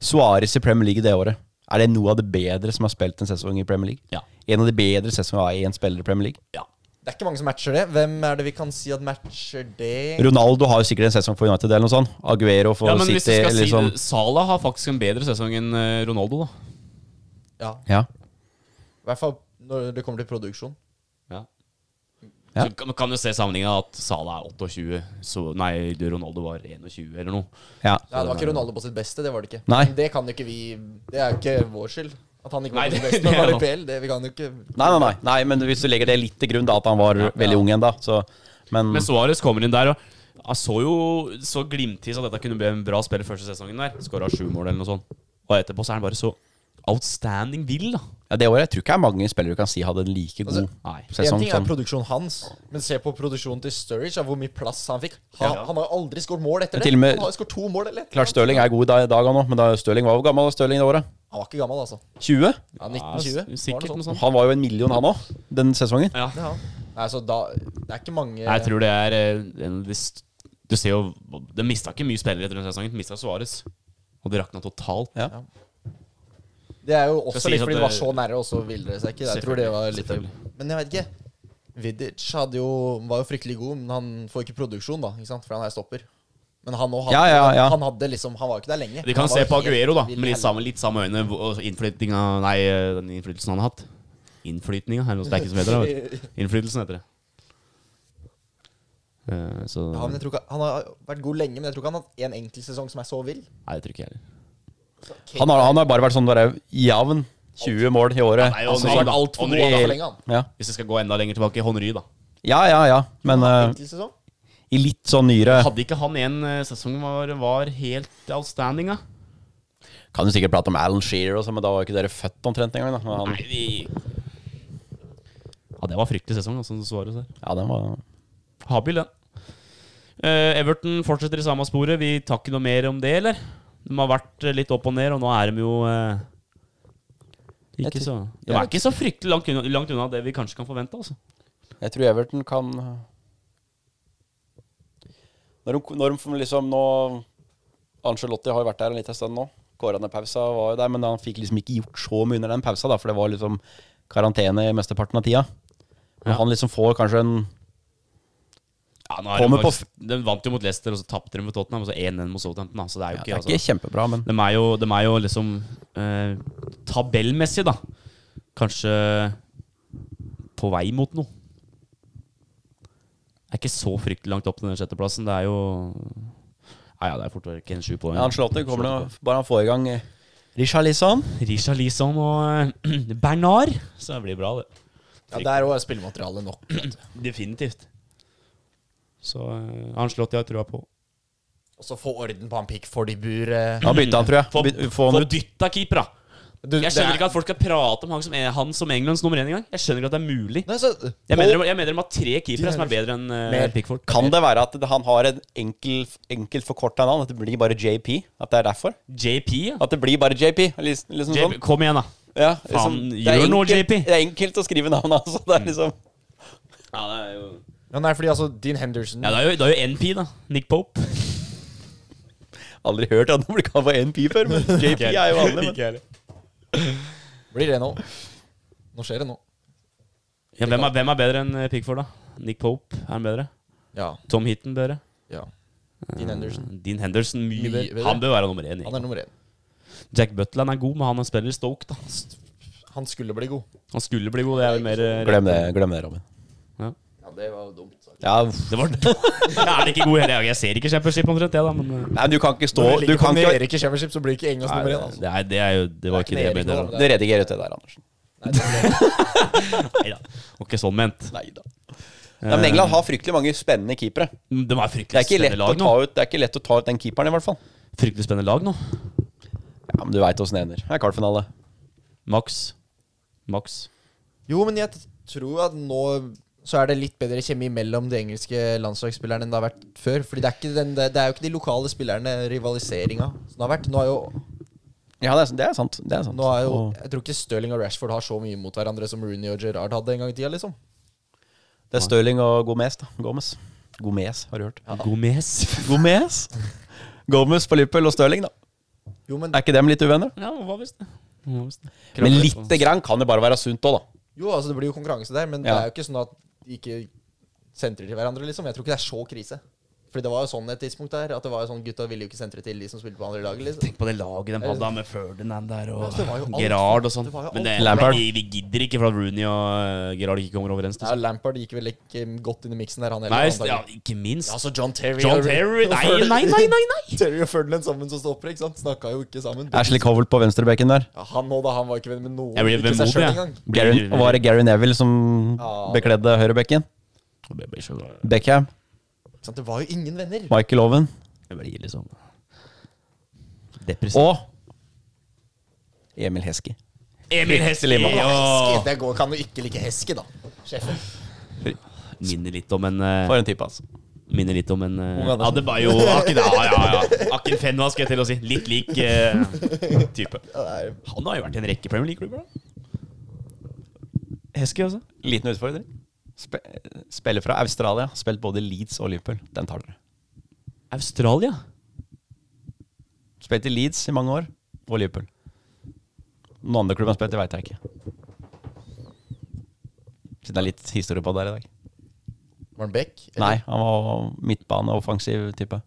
Speaker 3: Suarez i Premier League det året. Er det noe av det bedre som har spilt en sesong i Premier League?
Speaker 2: Ja.
Speaker 3: En av de bedre sesongene av én spiller i Premier League.
Speaker 2: Ja.
Speaker 4: Det er ikke mange som matcher det. Hvem er det vi kan si at matcher det?
Speaker 3: Ronaldo har jo sikkert en sesong for United eller noe sånt. Aguero for
Speaker 2: ja, men hvis du
Speaker 3: City.
Speaker 2: skal si
Speaker 3: Liksom.
Speaker 2: det, Salah har faktisk en bedre sesong enn eh, Ronaldo, da.
Speaker 4: Ja,
Speaker 3: Ja.
Speaker 4: I hvert fall når det kommer til produksjon.
Speaker 2: Ja.
Speaker 3: Ja.
Speaker 2: Så kan, kan du se sammenligningen at Salah er 28, så nei, du, Ronaldo var 21 eller noe.
Speaker 3: ja.
Speaker 4: Ja, det var ikke Ronaldo på sitt beste, det var det ikke.
Speaker 3: Nei.
Speaker 4: Men Det kan jo ikke vi Det er jo ikke vår skyld. At han ikke var
Speaker 2: Nei,
Speaker 4: på sitt
Speaker 2: det-
Speaker 4: beste
Speaker 2: det er
Speaker 4: når han var i
Speaker 2: han.
Speaker 4: PL. Det, vi kan jo ikke
Speaker 3: Nei, nei, nei, nei, men hvis du legger det litt til grunn, da, at han var veldig ung ennå, så men,
Speaker 2: Men Suárez kommer inn der og han så jo så glimtvis at dette kunne bli en bra spiller første sesongen der. Skåra sju mål eller noe sånt. Og etterpå så er han bare så outstanding vill, da.
Speaker 3: ja, det året jeg tror ikke det er mange spillere du kan si hadde en like god
Speaker 4: Altså,
Speaker 2: nei.
Speaker 4: En
Speaker 3: sesong
Speaker 4: ting er
Speaker 3: som
Speaker 4: produksjonen hans, men se på produksjonen til Sturridge. av Hvor mye plass han fikk. Han, han har jo aldri skåret mål etter
Speaker 3: Men
Speaker 4: det.
Speaker 3: til og med-
Speaker 4: Han har jo skåret to mål eller et eller
Speaker 3: Klart Stirling er god i dag- i dag han òg, men da Stirling var jo gammel da Stirling det året.
Speaker 4: annet. Han var ikke gammel, altså.
Speaker 3: 20?
Speaker 4: Ja, 1920.
Speaker 2: Ja, sikkert noe sånt.
Speaker 3: Han var sånn? jo en million, han òg, den sesongen.
Speaker 2: Ja.
Speaker 4: Ja. Nei, så da Det er ikke mange
Speaker 2: Jeg tror det er eh, en av de st- Du ser jo De mista ikke mye spillere etter den sesongen. De mista Suárez. Og det rakna totalt.
Speaker 3: Ja.
Speaker 4: Det er jo
Speaker 2: Skal
Speaker 4: også
Speaker 2: sies
Speaker 4: litt
Speaker 2: at
Speaker 4: fordi
Speaker 2: det-
Speaker 4: det var så nære, og så ville det seg ikke. Jeg tror det var litt av-
Speaker 2: Selvfølgelig.
Speaker 4: Men jeg vet ikke. Vidic hadde jo, var jo fryktelig god, men han får ikke produksjon, da. Ikke sant? For han er stopper. Men han òg hadde,
Speaker 3: Ja, ja, ja.
Speaker 4: Han, hadde liksom, han var jo ikke der lenge.
Speaker 2: De kan
Speaker 4: Han var
Speaker 2: se
Speaker 4: jo
Speaker 2: på
Speaker 4: helt
Speaker 2: Aguero, da,
Speaker 4: vill
Speaker 2: med litt
Speaker 4: helvete.
Speaker 2: samme, litt samme øyne og innflytninga Nei, eh, den innflytelsen han har hatt. Innflytninga, er det noe sterke som heter det? vet du. Innflytelsen heter det. Eh, Så
Speaker 4: Ja, men
Speaker 2: Nei,
Speaker 4: jeg tror ikke, han har vært god lenge, men jeg tror ikke han har hatt en enkelt sesong som er så vill.
Speaker 2: det tror ikke jeg heller.
Speaker 3: Han har, han har bare vært sånn der jevn. 20 mål i året. sånn-
Speaker 2: Nei,
Speaker 4: Altså,
Speaker 2: Henry,
Speaker 4: han har
Speaker 2: da.
Speaker 4: vært alt for
Speaker 2: Henry-
Speaker 4: god da, for lenge, han.
Speaker 3: Ja,
Speaker 2: Hvis vi skal gå enda lenger tilbake, Honry, da.
Speaker 3: ja, ja. ja. Men eh,
Speaker 4: Enkelt sesong.
Speaker 3: i litt sånn nyere
Speaker 2: Hadde ikke han en eh, sesong var, var helt outstanding, da?
Speaker 3: Kan du sikkert prate om Alan Shearer, og sånn, men da var jo ikke dere født omtrent engang. da. Men
Speaker 2: Nei,
Speaker 3: Han,
Speaker 2: vi Ja, det var fryktelig sesong, altså, som svaret der.
Speaker 3: ja, den var
Speaker 2: Habil, den. Eh, Everton fortsetter i samme sporet. Vi tar ikke noe mer om det, eller? De har vært eh, litt opp og ned, og nå er de jo eh, ikke
Speaker 3: Jeg
Speaker 2: så De er ikke så fryktelig langt unna, langt unna det vi kanskje kan forvente, altså.
Speaker 3: Jeg tror Everton kan Når de, når de liksom nå Angelotti har jo vært der en liten stund nå. Kåra ned pausa, var jo der, men han fikk liksom ikke gjort så mye under den pausa, da, for det var liksom karantene i mesteparten av tida. Men han liksom får kanskje en
Speaker 2: Ja, nå er
Speaker 3: Kommer
Speaker 2: de,
Speaker 3: på
Speaker 2: faktisk, de vant jo mot Leicester, og så tapte de mot Tottenham. Og så 1-1 mot Southampton. da, Så det er jo
Speaker 3: Det
Speaker 2: ikke,
Speaker 3: er ikke
Speaker 2: altså,
Speaker 3: kjempebra, men
Speaker 2: de, er jo, de er jo liksom eh, tabellmessig, da. Kanskje på vei mot noe. Det er ikke så fryktelig langt opp til den sjetteplassen. Det er jo Ja, ja, det er fort vekk en sju poeng.
Speaker 3: ja, Angelotti kommer nå bare han får i gang eh, Rishalison.
Speaker 2: Risha Lison og eh, Bernard. Så det blir bra, det.
Speaker 4: Ja, Der òg er spillematerialet nok. vet du.
Speaker 2: Definitivt. Så eh, Angelotti har jeg trua på.
Speaker 4: Og så få orden på han Pickford i bur. eh.
Speaker 3: Da bytter han, tror jeg.
Speaker 2: Få,
Speaker 3: By-
Speaker 2: få,
Speaker 3: Få han ut.
Speaker 2: dytta keeper, da.
Speaker 4: Du,
Speaker 2: Jeg
Speaker 4: det
Speaker 2: skjønner
Speaker 4: er-
Speaker 2: ikke at folk skal prate om han som, han som Englands nummer én engang. Jeg skjønner ikke at det er mulig.
Speaker 4: Nei, så,
Speaker 2: Jeg mener, jeg mener de har tre keepere som er bedre enn eh,
Speaker 4: Mer.
Speaker 2: Pickford.
Speaker 3: Kan det være at det- han har en enkel, enkelt forkorta navn? At det blir bare JP? At det er derfor?
Speaker 2: JP, ja.
Speaker 3: At det blir bare JP? Liksom, liksom
Speaker 2: JP.
Speaker 3: sånn.
Speaker 2: Kom igjen, da.
Speaker 3: Ja, liksom,
Speaker 2: Faen,
Speaker 3: det er
Speaker 2: gjør noe, Mm.
Speaker 3: enkelt-
Speaker 2: JP.
Speaker 3: Det er enkelt å skrive navn, altså. Det er liksom
Speaker 2: Ja, det er jo
Speaker 4: ja, nei, fordi altså, Dean Henderson
Speaker 2: det er jo, det er jo NP, da. Nick Pope.
Speaker 3: Aldri hørt at han blir kalt for NP før, men JP er jo vanlig. Men.
Speaker 4: blir det nå. Nå skjer det nå.
Speaker 2: Ja, hvem, er, hvem er bedre enn eh, Pickford, da? Nick Pope, er han bedre?
Speaker 4: Ja.
Speaker 2: Tom Hitton bedre?
Speaker 4: ja. Dean Henderson.
Speaker 2: Dean Henderson mye
Speaker 4: Mye
Speaker 2: bedre.
Speaker 4: bedre.
Speaker 2: Han bør være nummer én.
Speaker 4: Han
Speaker 2: egentlig.
Speaker 4: er nummer én.
Speaker 2: Jack Butland er god, men han spiller i Stoke, da.
Speaker 4: Han skulle bli god.
Speaker 2: Han skulle bli god, det er vel mer eh,
Speaker 3: Glem det, glem det, Robin.
Speaker 4: Ja, det var jo dumt.
Speaker 3: Ja,
Speaker 2: Det var Jeg er ikke god heller. Jeg ser ikke Championship omtrent, jeg, da, men eh,
Speaker 3: nei, du kan ikke stå
Speaker 4: Når det
Speaker 3: Du
Speaker 4: ligger på
Speaker 3: kan ikke
Speaker 4: Erik i Championship, så blir ikke Englands nummer én. Altså.
Speaker 2: det, er, det er jo Det var
Speaker 4: Det er
Speaker 2: ikke det jeg
Speaker 4: knebøy
Speaker 2: mente.
Speaker 4: nå,
Speaker 3: Du redigerer ut det der, Andersen.
Speaker 2: Nei da. Det var ikke sånn ment.
Speaker 3: Nei da. Nei, men England har fryktelig mange spennende keepere.
Speaker 2: De er
Speaker 3: Det er
Speaker 2: fryktelig
Speaker 3: ikke lett
Speaker 2: Eh. spennende
Speaker 3: å
Speaker 2: lag
Speaker 3: ta
Speaker 2: nå.
Speaker 3: ut, det er ikke lett å ta ut den keeperen, i hvert fall.
Speaker 2: Fryktelig spennende lag nå.
Speaker 3: Ja, Men du veit åssen det ender. Det er kvartfinale.
Speaker 2: Max. Max.
Speaker 4: Jo, men jeg t- tror at nå så er det litt bedre kjemi mellom de engelske landslagsspillerne enn det har vært før. Fordi det er, ikke den, det er jo ikke de lokale spillerne rivaliseringa som det har vært. Nå er jo,
Speaker 3: Ja, det er, det er sant. Det er sant.
Speaker 4: nå er jo
Speaker 3: Og
Speaker 4: Jeg tror ikke Stirling og Rashford har så mye mot hverandre som Rooney og Gerrard hadde en gang i tida, liksom.
Speaker 3: det er Stirling og Gomez, da. Gomez. Gomez, har du hørt?
Speaker 2: Gomez.
Speaker 3: Gomez? Gomez på Liverpool og Stirling, da.
Speaker 4: Jo, men
Speaker 3: Er ikke dem litt uvenner?
Speaker 2: Ja, hva visst det? Hva visst det?
Speaker 3: Men
Speaker 2: Krangler på-
Speaker 3: lite grann kan det bare være sunt òg, da.
Speaker 4: Jo, altså det blir jo konkurranse der, men det
Speaker 3: Ja.
Speaker 4: er jo ikke sånn at de ikke sentrer til hverandre, liksom. Jeg tror ikke det er så krise. Fordi det var jo sånn et tidspunkt der, at det var jo sånn gutta ville jo ikke sentre til de som spilte på andre laget, liksom.
Speaker 2: Tenk på det laget de hadde da, med Ferdinand der
Speaker 4: Ja,
Speaker 2: og
Speaker 4: så det var jo alt.
Speaker 2: Gerard og sånn.
Speaker 4: Det var jo
Speaker 2: Men det,
Speaker 4: alt.
Speaker 3: Lampard.
Speaker 2: vi- vi gidder ikke for at Rooney og eh, Gerard ikke kommer overens.
Speaker 4: Ja,
Speaker 2: Liksom.
Speaker 4: Lampard gikk vel ikke godt inn i miksen der, han heller.
Speaker 2: Nei,
Speaker 4: antagelig.
Speaker 2: s- ja, ikke minst.
Speaker 4: Ja, så John Terry
Speaker 2: John
Speaker 4: og-
Speaker 2: Terry
Speaker 4: og
Speaker 2: Nei,
Speaker 4: Ferdinand-
Speaker 2: nei, nei! nei, nei.
Speaker 4: Terry og Ferdinand sammen som stoppere, ikke sant? Snakka jo ikke sammen.
Speaker 3: Ashley Covell på venstrebekken der.
Speaker 4: Ja, han nå da, han var ikke venn med noen.
Speaker 2: Jeg blir
Speaker 4: ikke
Speaker 2: vemodig,
Speaker 4: seg selv
Speaker 2: jeg.
Speaker 4: engang.
Speaker 3: Gary, og var det Gary Neville som
Speaker 4: Ja.
Speaker 3: bekledde høyrebekken?
Speaker 2: Jeg blir så glad.
Speaker 3: Beckham?
Speaker 4: Ikke sant? Det var jo ingen venner.
Speaker 3: Michael Owen?
Speaker 2: Jeg blir liksom Depressiv.
Speaker 3: Og Emil Heski.
Speaker 2: Emil Hesselimo!
Speaker 4: Heske, det går, kan jo ikke like Heske, da. Sjefen.
Speaker 2: Minner litt om en eh,
Speaker 3: For en type, altså.
Speaker 2: Minner litt om en eh,
Speaker 3: Ung Andersen.
Speaker 2: Adebayo. Akin, ja, ja, ja. Akin Fenwa, skal jeg til å si. Litt lik eh, type.
Speaker 4: Ja, det er-
Speaker 2: Han har jo vært i en rekke Premier League-klubber, da. Hesky, altså.
Speaker 3: Liten utfordring. Spe spiller fra Australia. Spilt både Leeds og Liverpool. Den tar dere.
Speaker 2: Australia?
Speaker 3: Spilt i Leeds i mange år, og Liverpool. Noen andre klubber han spilte, veit jeg ikke. Så det er litt historie på det her i dag.
Speaker 4: Var han Beck?
Speaker 3: Nei, han var midtbaneoffensiv type.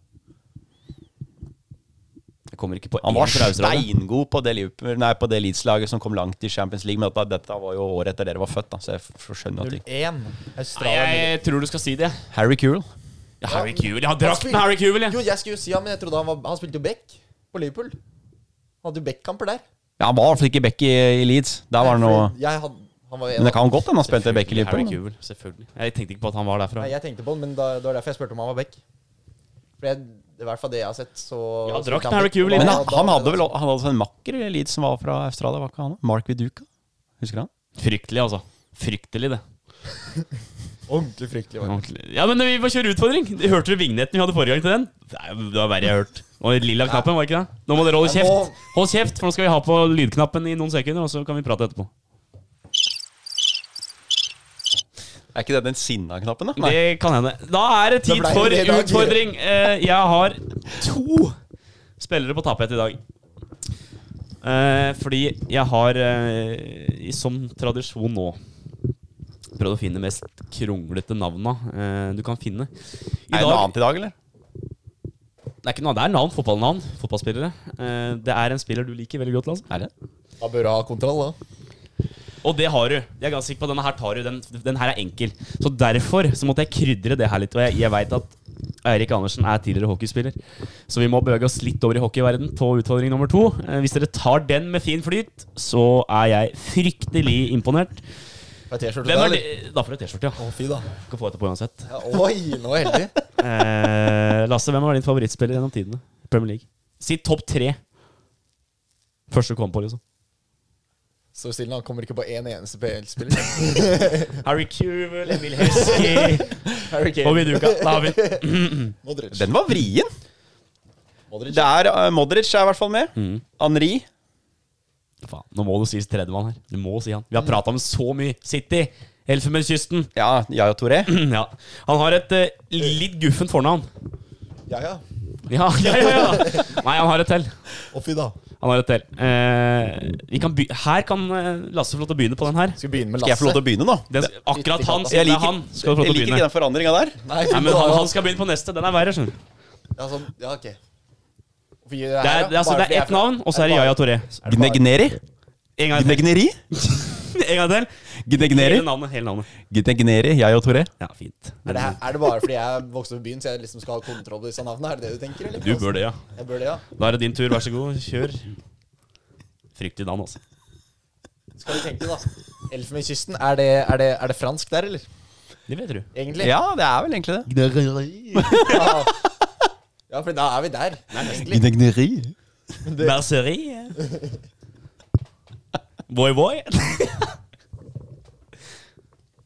Speaker 2: Jeg kommer ikke på
Speaker 3: Han
Speaker 2: én
Speaker 3: var
Speaker 2: fra Australia.
Speaker 3: steingod på det, Liverpool- nei, på det Leeds-laget som kom langt i Champions League, men dette, dette var jo året etter dere var født, da, så jeg f- skjønner at det
Speaker 4: 0-1.
Speaker 2: Nei,
Speaker 4: Australia
Speaker 2: jeg tror du skal si det.
Speaker 3: Harry Kewell.
Speaker 2: Ja, Harry Cuvel. Jeg har drakten Harry Cuvel, jeg.
Speaker 4: Jo, jeg skulle jo si han, men jeg trodde han var Han spilte jo back på Liverpool. Han hadde jo back-kamper der.
Speaker 3: Ja, han var i hvert fall ikke back i, i Leeds. Der var han noe
Speaker 4: Fordi Jeg hadde, han var
Speaker 3: Men
Speaker 4: jo en
Speaker 3: det
Speaker 4: av
Speaker 3: kan godt hende han spilte back
Speaker 2: Harry
Speaker 3: i Liverpool. da.
Speaker 2: Cuvel, selvfølgelig. Jeg tenkte ikke på at han var derfra.
Speaker 4: Nei,
Speaker 2: Jeg
Speaker 4: jeg tenkte på han, men da, det var derfor jeg spurte om han var back. For jeg, det er i hvert fall det jeg har sett, så
Speaker 2: Ja,
Speaker 4: så
Speaker 2: drakten
Speaker 4: kan
Speaker 2: er jo
Speaker 4: back-
Speaker 2: kul,
Speaker 4: Da-
Speaker 3: Men
Speaker 4: da-
Speaker 3: han, han hadde vel han hadde altså en makker i Leeds som var fra Australia, var ikke han? Mark Viduka. Husker han?
Speaker 2: Fryktelig, altså. Fryktelig, det.
Speaker 4: Ordentlig fryktelig. var det.
Speaker 2: Ja, men vi må kjøre utfordring. Hørte du vignetten vi hadde forrige gang til den? Det er- det var verre jeg har hørt. Og den lilla knappen, var det ikke det? Nå må dere holde
Speaker 4: Ja, nå-
Speaker 2: kjeft. Hold kjeft, for nå skal vi ha på lydknappen i noen sekunder, og så kan vi prate etterpå.
Speaker 3: Er ikke det den sinna-knappen, da?
Speaker 2: Det kan hende. Da er det tid
Speaker 4: Da ble
Speaker 2: for
Speaker 4: det i dag.
Speaker 2: utfordring. Eh, Jeg har to spillere på tapet i dag. Eh, Fordi jeg har, eh, i- som tradisjon nå Prøvd å finne mest kronglete navna eh, du kan finne. I
Speaker 3: Er det noe
Speaker 2: dag,
Speaker 3: annet i dag, eller?
Speaker 2: det er ikke noe, det er navn, fotballnavn. Fotballspillere. Eh, Det er en spiller du liker veldig godt, Lasse.
Speaker 3: Er det?
Speaker 4: Da bør du ha kontroll, da.
Speaker 2: Og det har du. Jeg er ganske sikker på at Denne her tar du. Den, den her er enkel. Så derfor så måtte jeg krydre det her litt. Og jeg, jeg veit at Eirik Andersen er tidligere hockeyspiller. Så vi må bevege oss litt over i hockeyverden på utfordring nummer to. Eh, Hvis dere tar den med fin flyt, så er jeg fryktelig imponert.
Speaker 4: Får jeg T-skjorte
Speaker 2: Hvem
Speaker 4: da,
Speaker 2: er det?
Speaker 4: eller?
Speaker 2: Da får du T-skjorte, ja.
Speaker 4: Å, fy da.
Speaker 2: Skal få etterpå uansett.
Speaker 4: Ja, oi, nå er jeg heldig.
Speaker 2: Eh, Lasse, hvem var din favorittspiller gjennom tidene? Premier League. Si topp tre. Første du kom på, liksom.
Speaker 4: Så stille, han kommer ikke på én eneste PL-spiller.
Speaker 2: Harry Cuvel, Emil Heskey
Speaker 4: Harry
Speaker 2: og
Speaker 4: Kane.
Speaker 2: Viduka. Da har vi den.
Speaker 4: Modric.
Speaker 3: Den var vrien!
Speaker 4: Modric.
Speaker 3: Det er eh, Modric er i hvert fall med. Henri.
Speaker 2: Faen, nå må du si tredjemann her. Du må si han. Vi har prata om så mye. City, Elfenbenskysten.
Speaker 3: Ja, Yaya Touré.
Speaker 2: ja. Han har et eh, litt guffent fornavn.
Speaker 4: Ja, ja.
Speaker 2: Ja, ja, ja, ja. Nei, han har et til.
Speaker 4: Å, fy da.
Speaker 2: Han har et til. Eh, vi kan by her kan eh, Lasse få lov til å begynne på den her.
Speaker 4: Skal vi begynne med
Speaker 3: Skal jeg få lov
Speaker 4: Lasse?
Speaker 3: til å begynne, nå?
Speaker 2: Den, akkurat han, siden
Speaker 3: Jeg
Speaker 2: det er
Speaker 3: liker,
Speaker 2: han, skal du få lov til å
Speaker 3: jeg liker ikke
Speaker 2: begynne.
Speaker 3: den forandringa der.
Speaker 4: Nei,
Speaker 2: Nei,
Speaker 4: fy
Speaker 2: men
Speaker 4: da.
Speaker 2: han, han skal begynne på neste. Den er verre, skjønner du.
Speaker 4: Ja, sånn. Ja, ok. Hvorfor gir
Speaker 2: Det er,
Speaker 4: her,
Speaker 2: det er, altså,
Speaker 4: Bare
Speaker 2: det er
Speaker 4: fordi jeg
Speaker 2: ett navn, og så er det
Speaker 4: bare-
Speaker 2: Yaya Toré.
Speaker 3: Gnegneri?
Speaker 2: En gang til.
Speaker 3: Gnegneri?
Speaker 2: En gang til.
Speaker 3: Gnegneri?
Speaker 2: Hele navnet. Hele navnet.
Speaker 3: Gnegneri, jeg og Touré.
Speaker 2: Ja, fint.
Speaker 4: Er det, her, er det bare fordi jeg vokste opp i byen, så jeg liksom skal ha kontroll på disse navnene? Er det det du tenker? Eller?
Speaker 2: Du bør det, ja.
Speaker 4: Jeg bør det, ja.
Speaker 2: Da er det din tur. Vær så god, kjør. Fryktelig navn, altså.
Speaker 4: Skal vi tenke, da. Elfenbenskysten, er, det- er, det- er det fransk der, eller?
Speaker 2: Det vet du.
Speaker 4: Egentlig?
Speaker 3: Ja, det er vel egentlig det.
Speaker 4: Ja. ja, for da er vi der. egentlig.
Speaker 3: Gnegneri?
Speaker 2: Berserie. Boy, boy.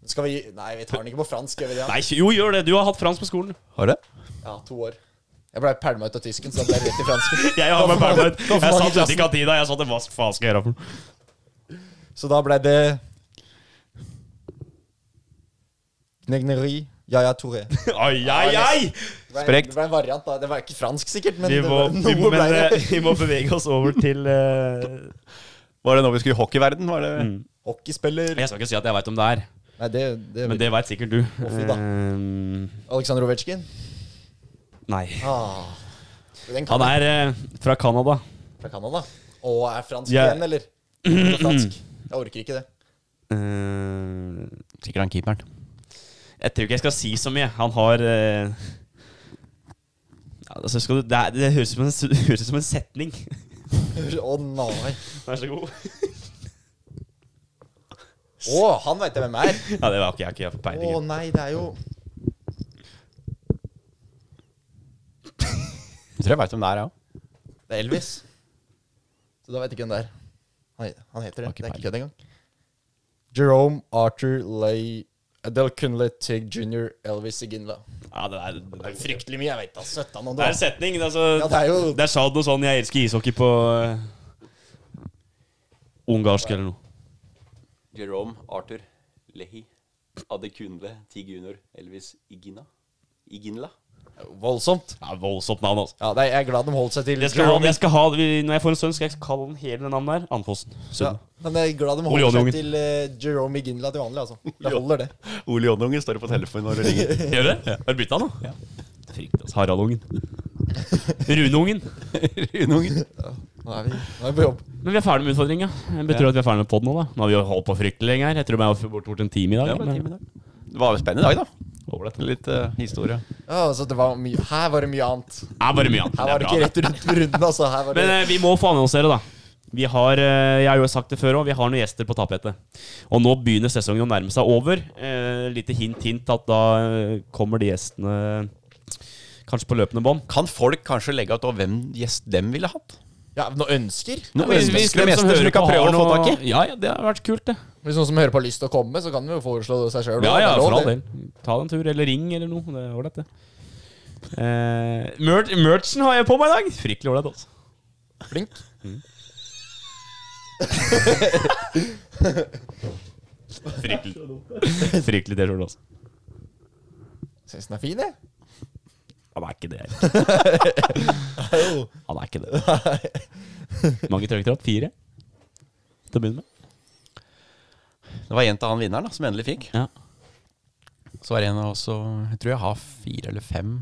Speaker 4: Skal vi Nei, vi tar den ikke på fransk. Gjør vi det?
Speaker 2: Nei, jo, gjør det. Du har hatt fransk på skolen.
Speaker 3: Har det?
Speaker 4: Ja, to år. Jeg ble pælma ut av tysken, så da ble jeg rett i fransken.
Speaker 2: Jeg har meg perma ut. Jeg
Speaker 4: for mange
Speaker 2: satt ute i
Speaker 4: klassen.
Speaker 2: kantina. Jeg satt i hva faen skal jeg gjøre for noe?
Speaker 4: Så da ble det Gnegneri, Yaya Touré. Det
Speaker 2: Ai, ai, ai!
Speaker 4: ble-
Speaker 3: Sprekt.
Speaker 4: Det ble en variant, da. Det var ikke fransk, sikkert, men
Speaker 2: Vi
Speaker 4: det
Speaker 2: må,
Speaker 4: var-
Speaker 2: vi, må,
Speaker 4: noe ble
Speaker 2: men, eh,
Speaker 4: det.
Speaker 2: vi må bevege oss over til eh,
Speaker 3: Var det nå vi skulle i hockeyverden? Var det
Speaker 4: Hockeyspiller
Speaker 2: Jeg skal ikke si at jeg veit om det er,
Speaker 4: Nei, det, det,
Speaker 2: men det veit sikkert du.
Speaker 4: fy da.
Speaker 2: Ehm,
Speaker 4: Aleksandr Ovetsjkin?
Speaker 2: nei.
Speaker 4: Ah. Den kan
Speaker 2: Han er eh, fra Canada.
Speaker 4: fra Canada. Og er fransk
Speaker 2: Ja.
Speaker 4: igjen, eller? Er det Fransk. Jeg orker ikke det.
Speaker 2: Ehm,
Speaker 3: Sikkert han keeperen.
Speaker 2: Jeg tror ikke jeg skal si så mye. Han har eh, ja, altså skal du, det, er, det høres ut som, en s- høres ut som en setning.
Speaker 4: Å nei.
Speaker 2: Vær så god.
Speaker 4: Å, han veit jeg hvem er.
Speaker 2: Ja, det var ikke jeg. Ikke jeg på
Speaker 4: Å
Speaker 2: peiling.
Speaker 4: nei, det er jo
Speaker 3: Jeg tror jeg veit hvem det er, jeg òg.
Speaker 4: Det er Elvis. Så da veit jeg ikke hvem det er. Han, han heter det.
Speaker 3: Har ikke
Speaker 4: Det er ikke kødd engang. Jerome Arthur Lay Adele Kunle Tig jr. Elvis Iginla.
Speaker 2: Ja, det er, det er fryktelig.
Speaker 4: Fryktelig mye jeg altså, veit, da. 17 og
Speaker 2: Det er en setning. Altså,
Speaker 4: Ja, det er jo
Speaker 2: det er sa noe sånn 'jeg elsker ishockey' på eh, ungarsk eller noe.
Speaker 5: Jerome Arthur Lehi Adekunle Tigunor Elvis Igina Iginla
Speaker 4: voldsomt.
Speaker 2: Ja, Voldsomt navn, altså.
Speaker 4: Ja, nei, Jeg er glad de holdt seg til
Speaker 2: Jeg skal ha,
Speaker 4: Jerome.
Speaker 2: jeg skal ha, vi- når jeg får en sønn, skal jeg kalle han hele det navnet der. Andfossen.
Speaker 4: Ja,
Speaker 2: Sønnen.
Speaker 4: men jeg er glad de
Speaker 2: Ole
Speaker 4: holder
Speaker 2: Johnungen.
Speaker 4: seg til eh, Jerome Iginla til vanlig, altså. Det holder, det.
Speaker 3: Ole Johnungen står på telefonen når du ringer.
Speaker 2: Gjør du det? Har du bytta nå? Ja. Frykt, altså. Haraldungen. Runeungen.
Speaker 3: Runeungen.
Speaker 4: Nå er vi, nå er vi på jobb.
Speaker 2: Men vi er ferdig med utfordringa. Betyr det at vi er ferdig med podden nå, da? Nå har vi jo holdt på fryktelig lenge her. Jeg tror vi er bort bort en time i dag.
Speaker 3: Ja, men
Speaker 2: men-
Speaker 3: time i dag. Det var en spennende dag, da.
Speaker 2: Ålreit.
Speaker 3: Litt eh, historie.
Speaker 4: Ja, altså, det var mye, her var det mye annet.
Speaker 2: Det er bare mye annet. Det
Speaker 4: Her var
Speaker 2: er
Speaker 4: det
Speaker 2: bra.
Speaker 4: ikke
Speaker 2: det.
Speaker 4: rett rundt på runden, altså. Her var det
Speaker 2: Men eh, vi må få annonsere, da. Vi har, eh, jeg har jo sagt det før òg, vi har noen gjester på tapetet. Og nå begynner sesongen å nærme seg over. Eh, lite hint, hint at da eh, kommer de gjestene kanskje på løpende bånd.
Speaker 3: Kan folk kanskje legge ut over hvem gjest dem ville hatt?
Speaker 4: ja, noen ønsker.
Speaker 3: Noen
Speaker 2: Hvis- hvis
Speaker 3: ønsker om
Speaker 2: dem som
Speaker 3: gjester som
Speaker 2: hører
Speaker 3: du kan
Speaker 2: på
Speaker 3: prøve
Speaker 2: har
Speaker 3: å få tak i?
Speaker 2: noe- Ja, ja, det har vært kult, det.
Speaker 4: Hvis noen som hører på har lyst til å komme, så kan de jo foreslå det seg sjøl.
Speaker 2: Ja, ja, for all del. Ta deg en tur, eller ring, eller noe. Det er ålreit, det. Eh, mer- merchen har jeg på meg i dag. Fryktelig ålreit, altså.
Speaker 4: Flink.
Speaker 2: Fryktelig Fryktelig T-skjorte, altså.
Speaker 4: Syns den er fin, jeg.
Speaker 2: Han er ikke det. helt. Han er ikke det. Mange trøkk opp? Fire? Til å begynne med.
Speaker 3: Det var en til han vinneren da, som endelig fikk.
Speaker 2: Ja.
Speaker 3: Så var det en av oss som Jeg tror jeg har fire eller fem.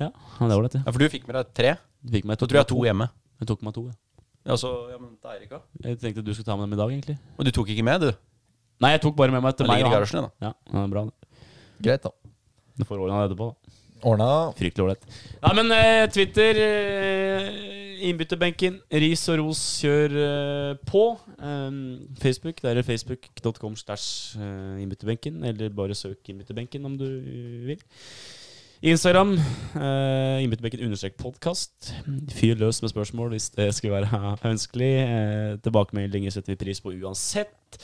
Speaker 2: Ja, ja, det var det.
Speaker 3: Ja, For du fikk med deg tre?
Speaker 2: Du fikk meg
Speaker 3: Så tror jeg to hjemme.
Speaker 2: Jeg tok meg to. Ja.
Speaker 3: Ja, så, ja, men det er Erik også.
Speaker 2: Jeg tenkte du skulle ta med dem i dag, egentlig.
Speaker 3: Og du tok ikke med, du?
Speaker 2: Nei, jeg tok bare med meg til
Speaker 3: Den
Speaker 2: meg.
Speaker 3: ligger i
Speaker 2: og han.
Speaker 3: garasjen, din, da.
Speaker 2: Ja, ja, bra. det.
Speaker 4: Greit, da.
Speaker 2: Du får ordna det etterpå, da.
Speaker 4: Ordna.
Speaker 2: Fryktelig ålreit. Nei, men eh, Twitter, eh, innbytterbenken, ris og ros, kjør eh, på. Um, Facebook, det er facebook.com stæsj eh, innbytterbenken, eller bare søk innbytterbenken om du eh, vil. Instagram, eh, innbytterbenken understrek podkast. Fyr løs med spørsmål hvis det skulle være ønskelig. Eh, tilbakemeldinger setter vi pris på uansett.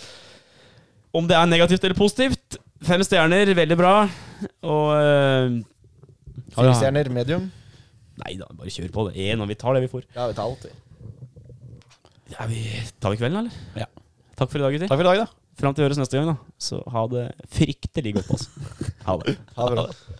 Speaker 2: Om det er negativt eller positivt. Fem stjerner, veldig bra. Og eh,
Speaker 4: Fire stjerner, medium.
Speaker 2: Nei da, bare kjør på det. Én, og vi tar det vi får.
Speaker 4: Ja, vi tar alt, vi.
Speaker 2: Ja, vi tar vi kvelden, eller?
Speaker 3: Ja.
Speaker 2: Takk for i dag, gutter.
Speaker 3: Takk for i dag, da.
Speaker 2: Fram til vi høres neste gang, da. Så ha det fryktelig godt, altså. Ha det.
Speaker 4: Ha det bra.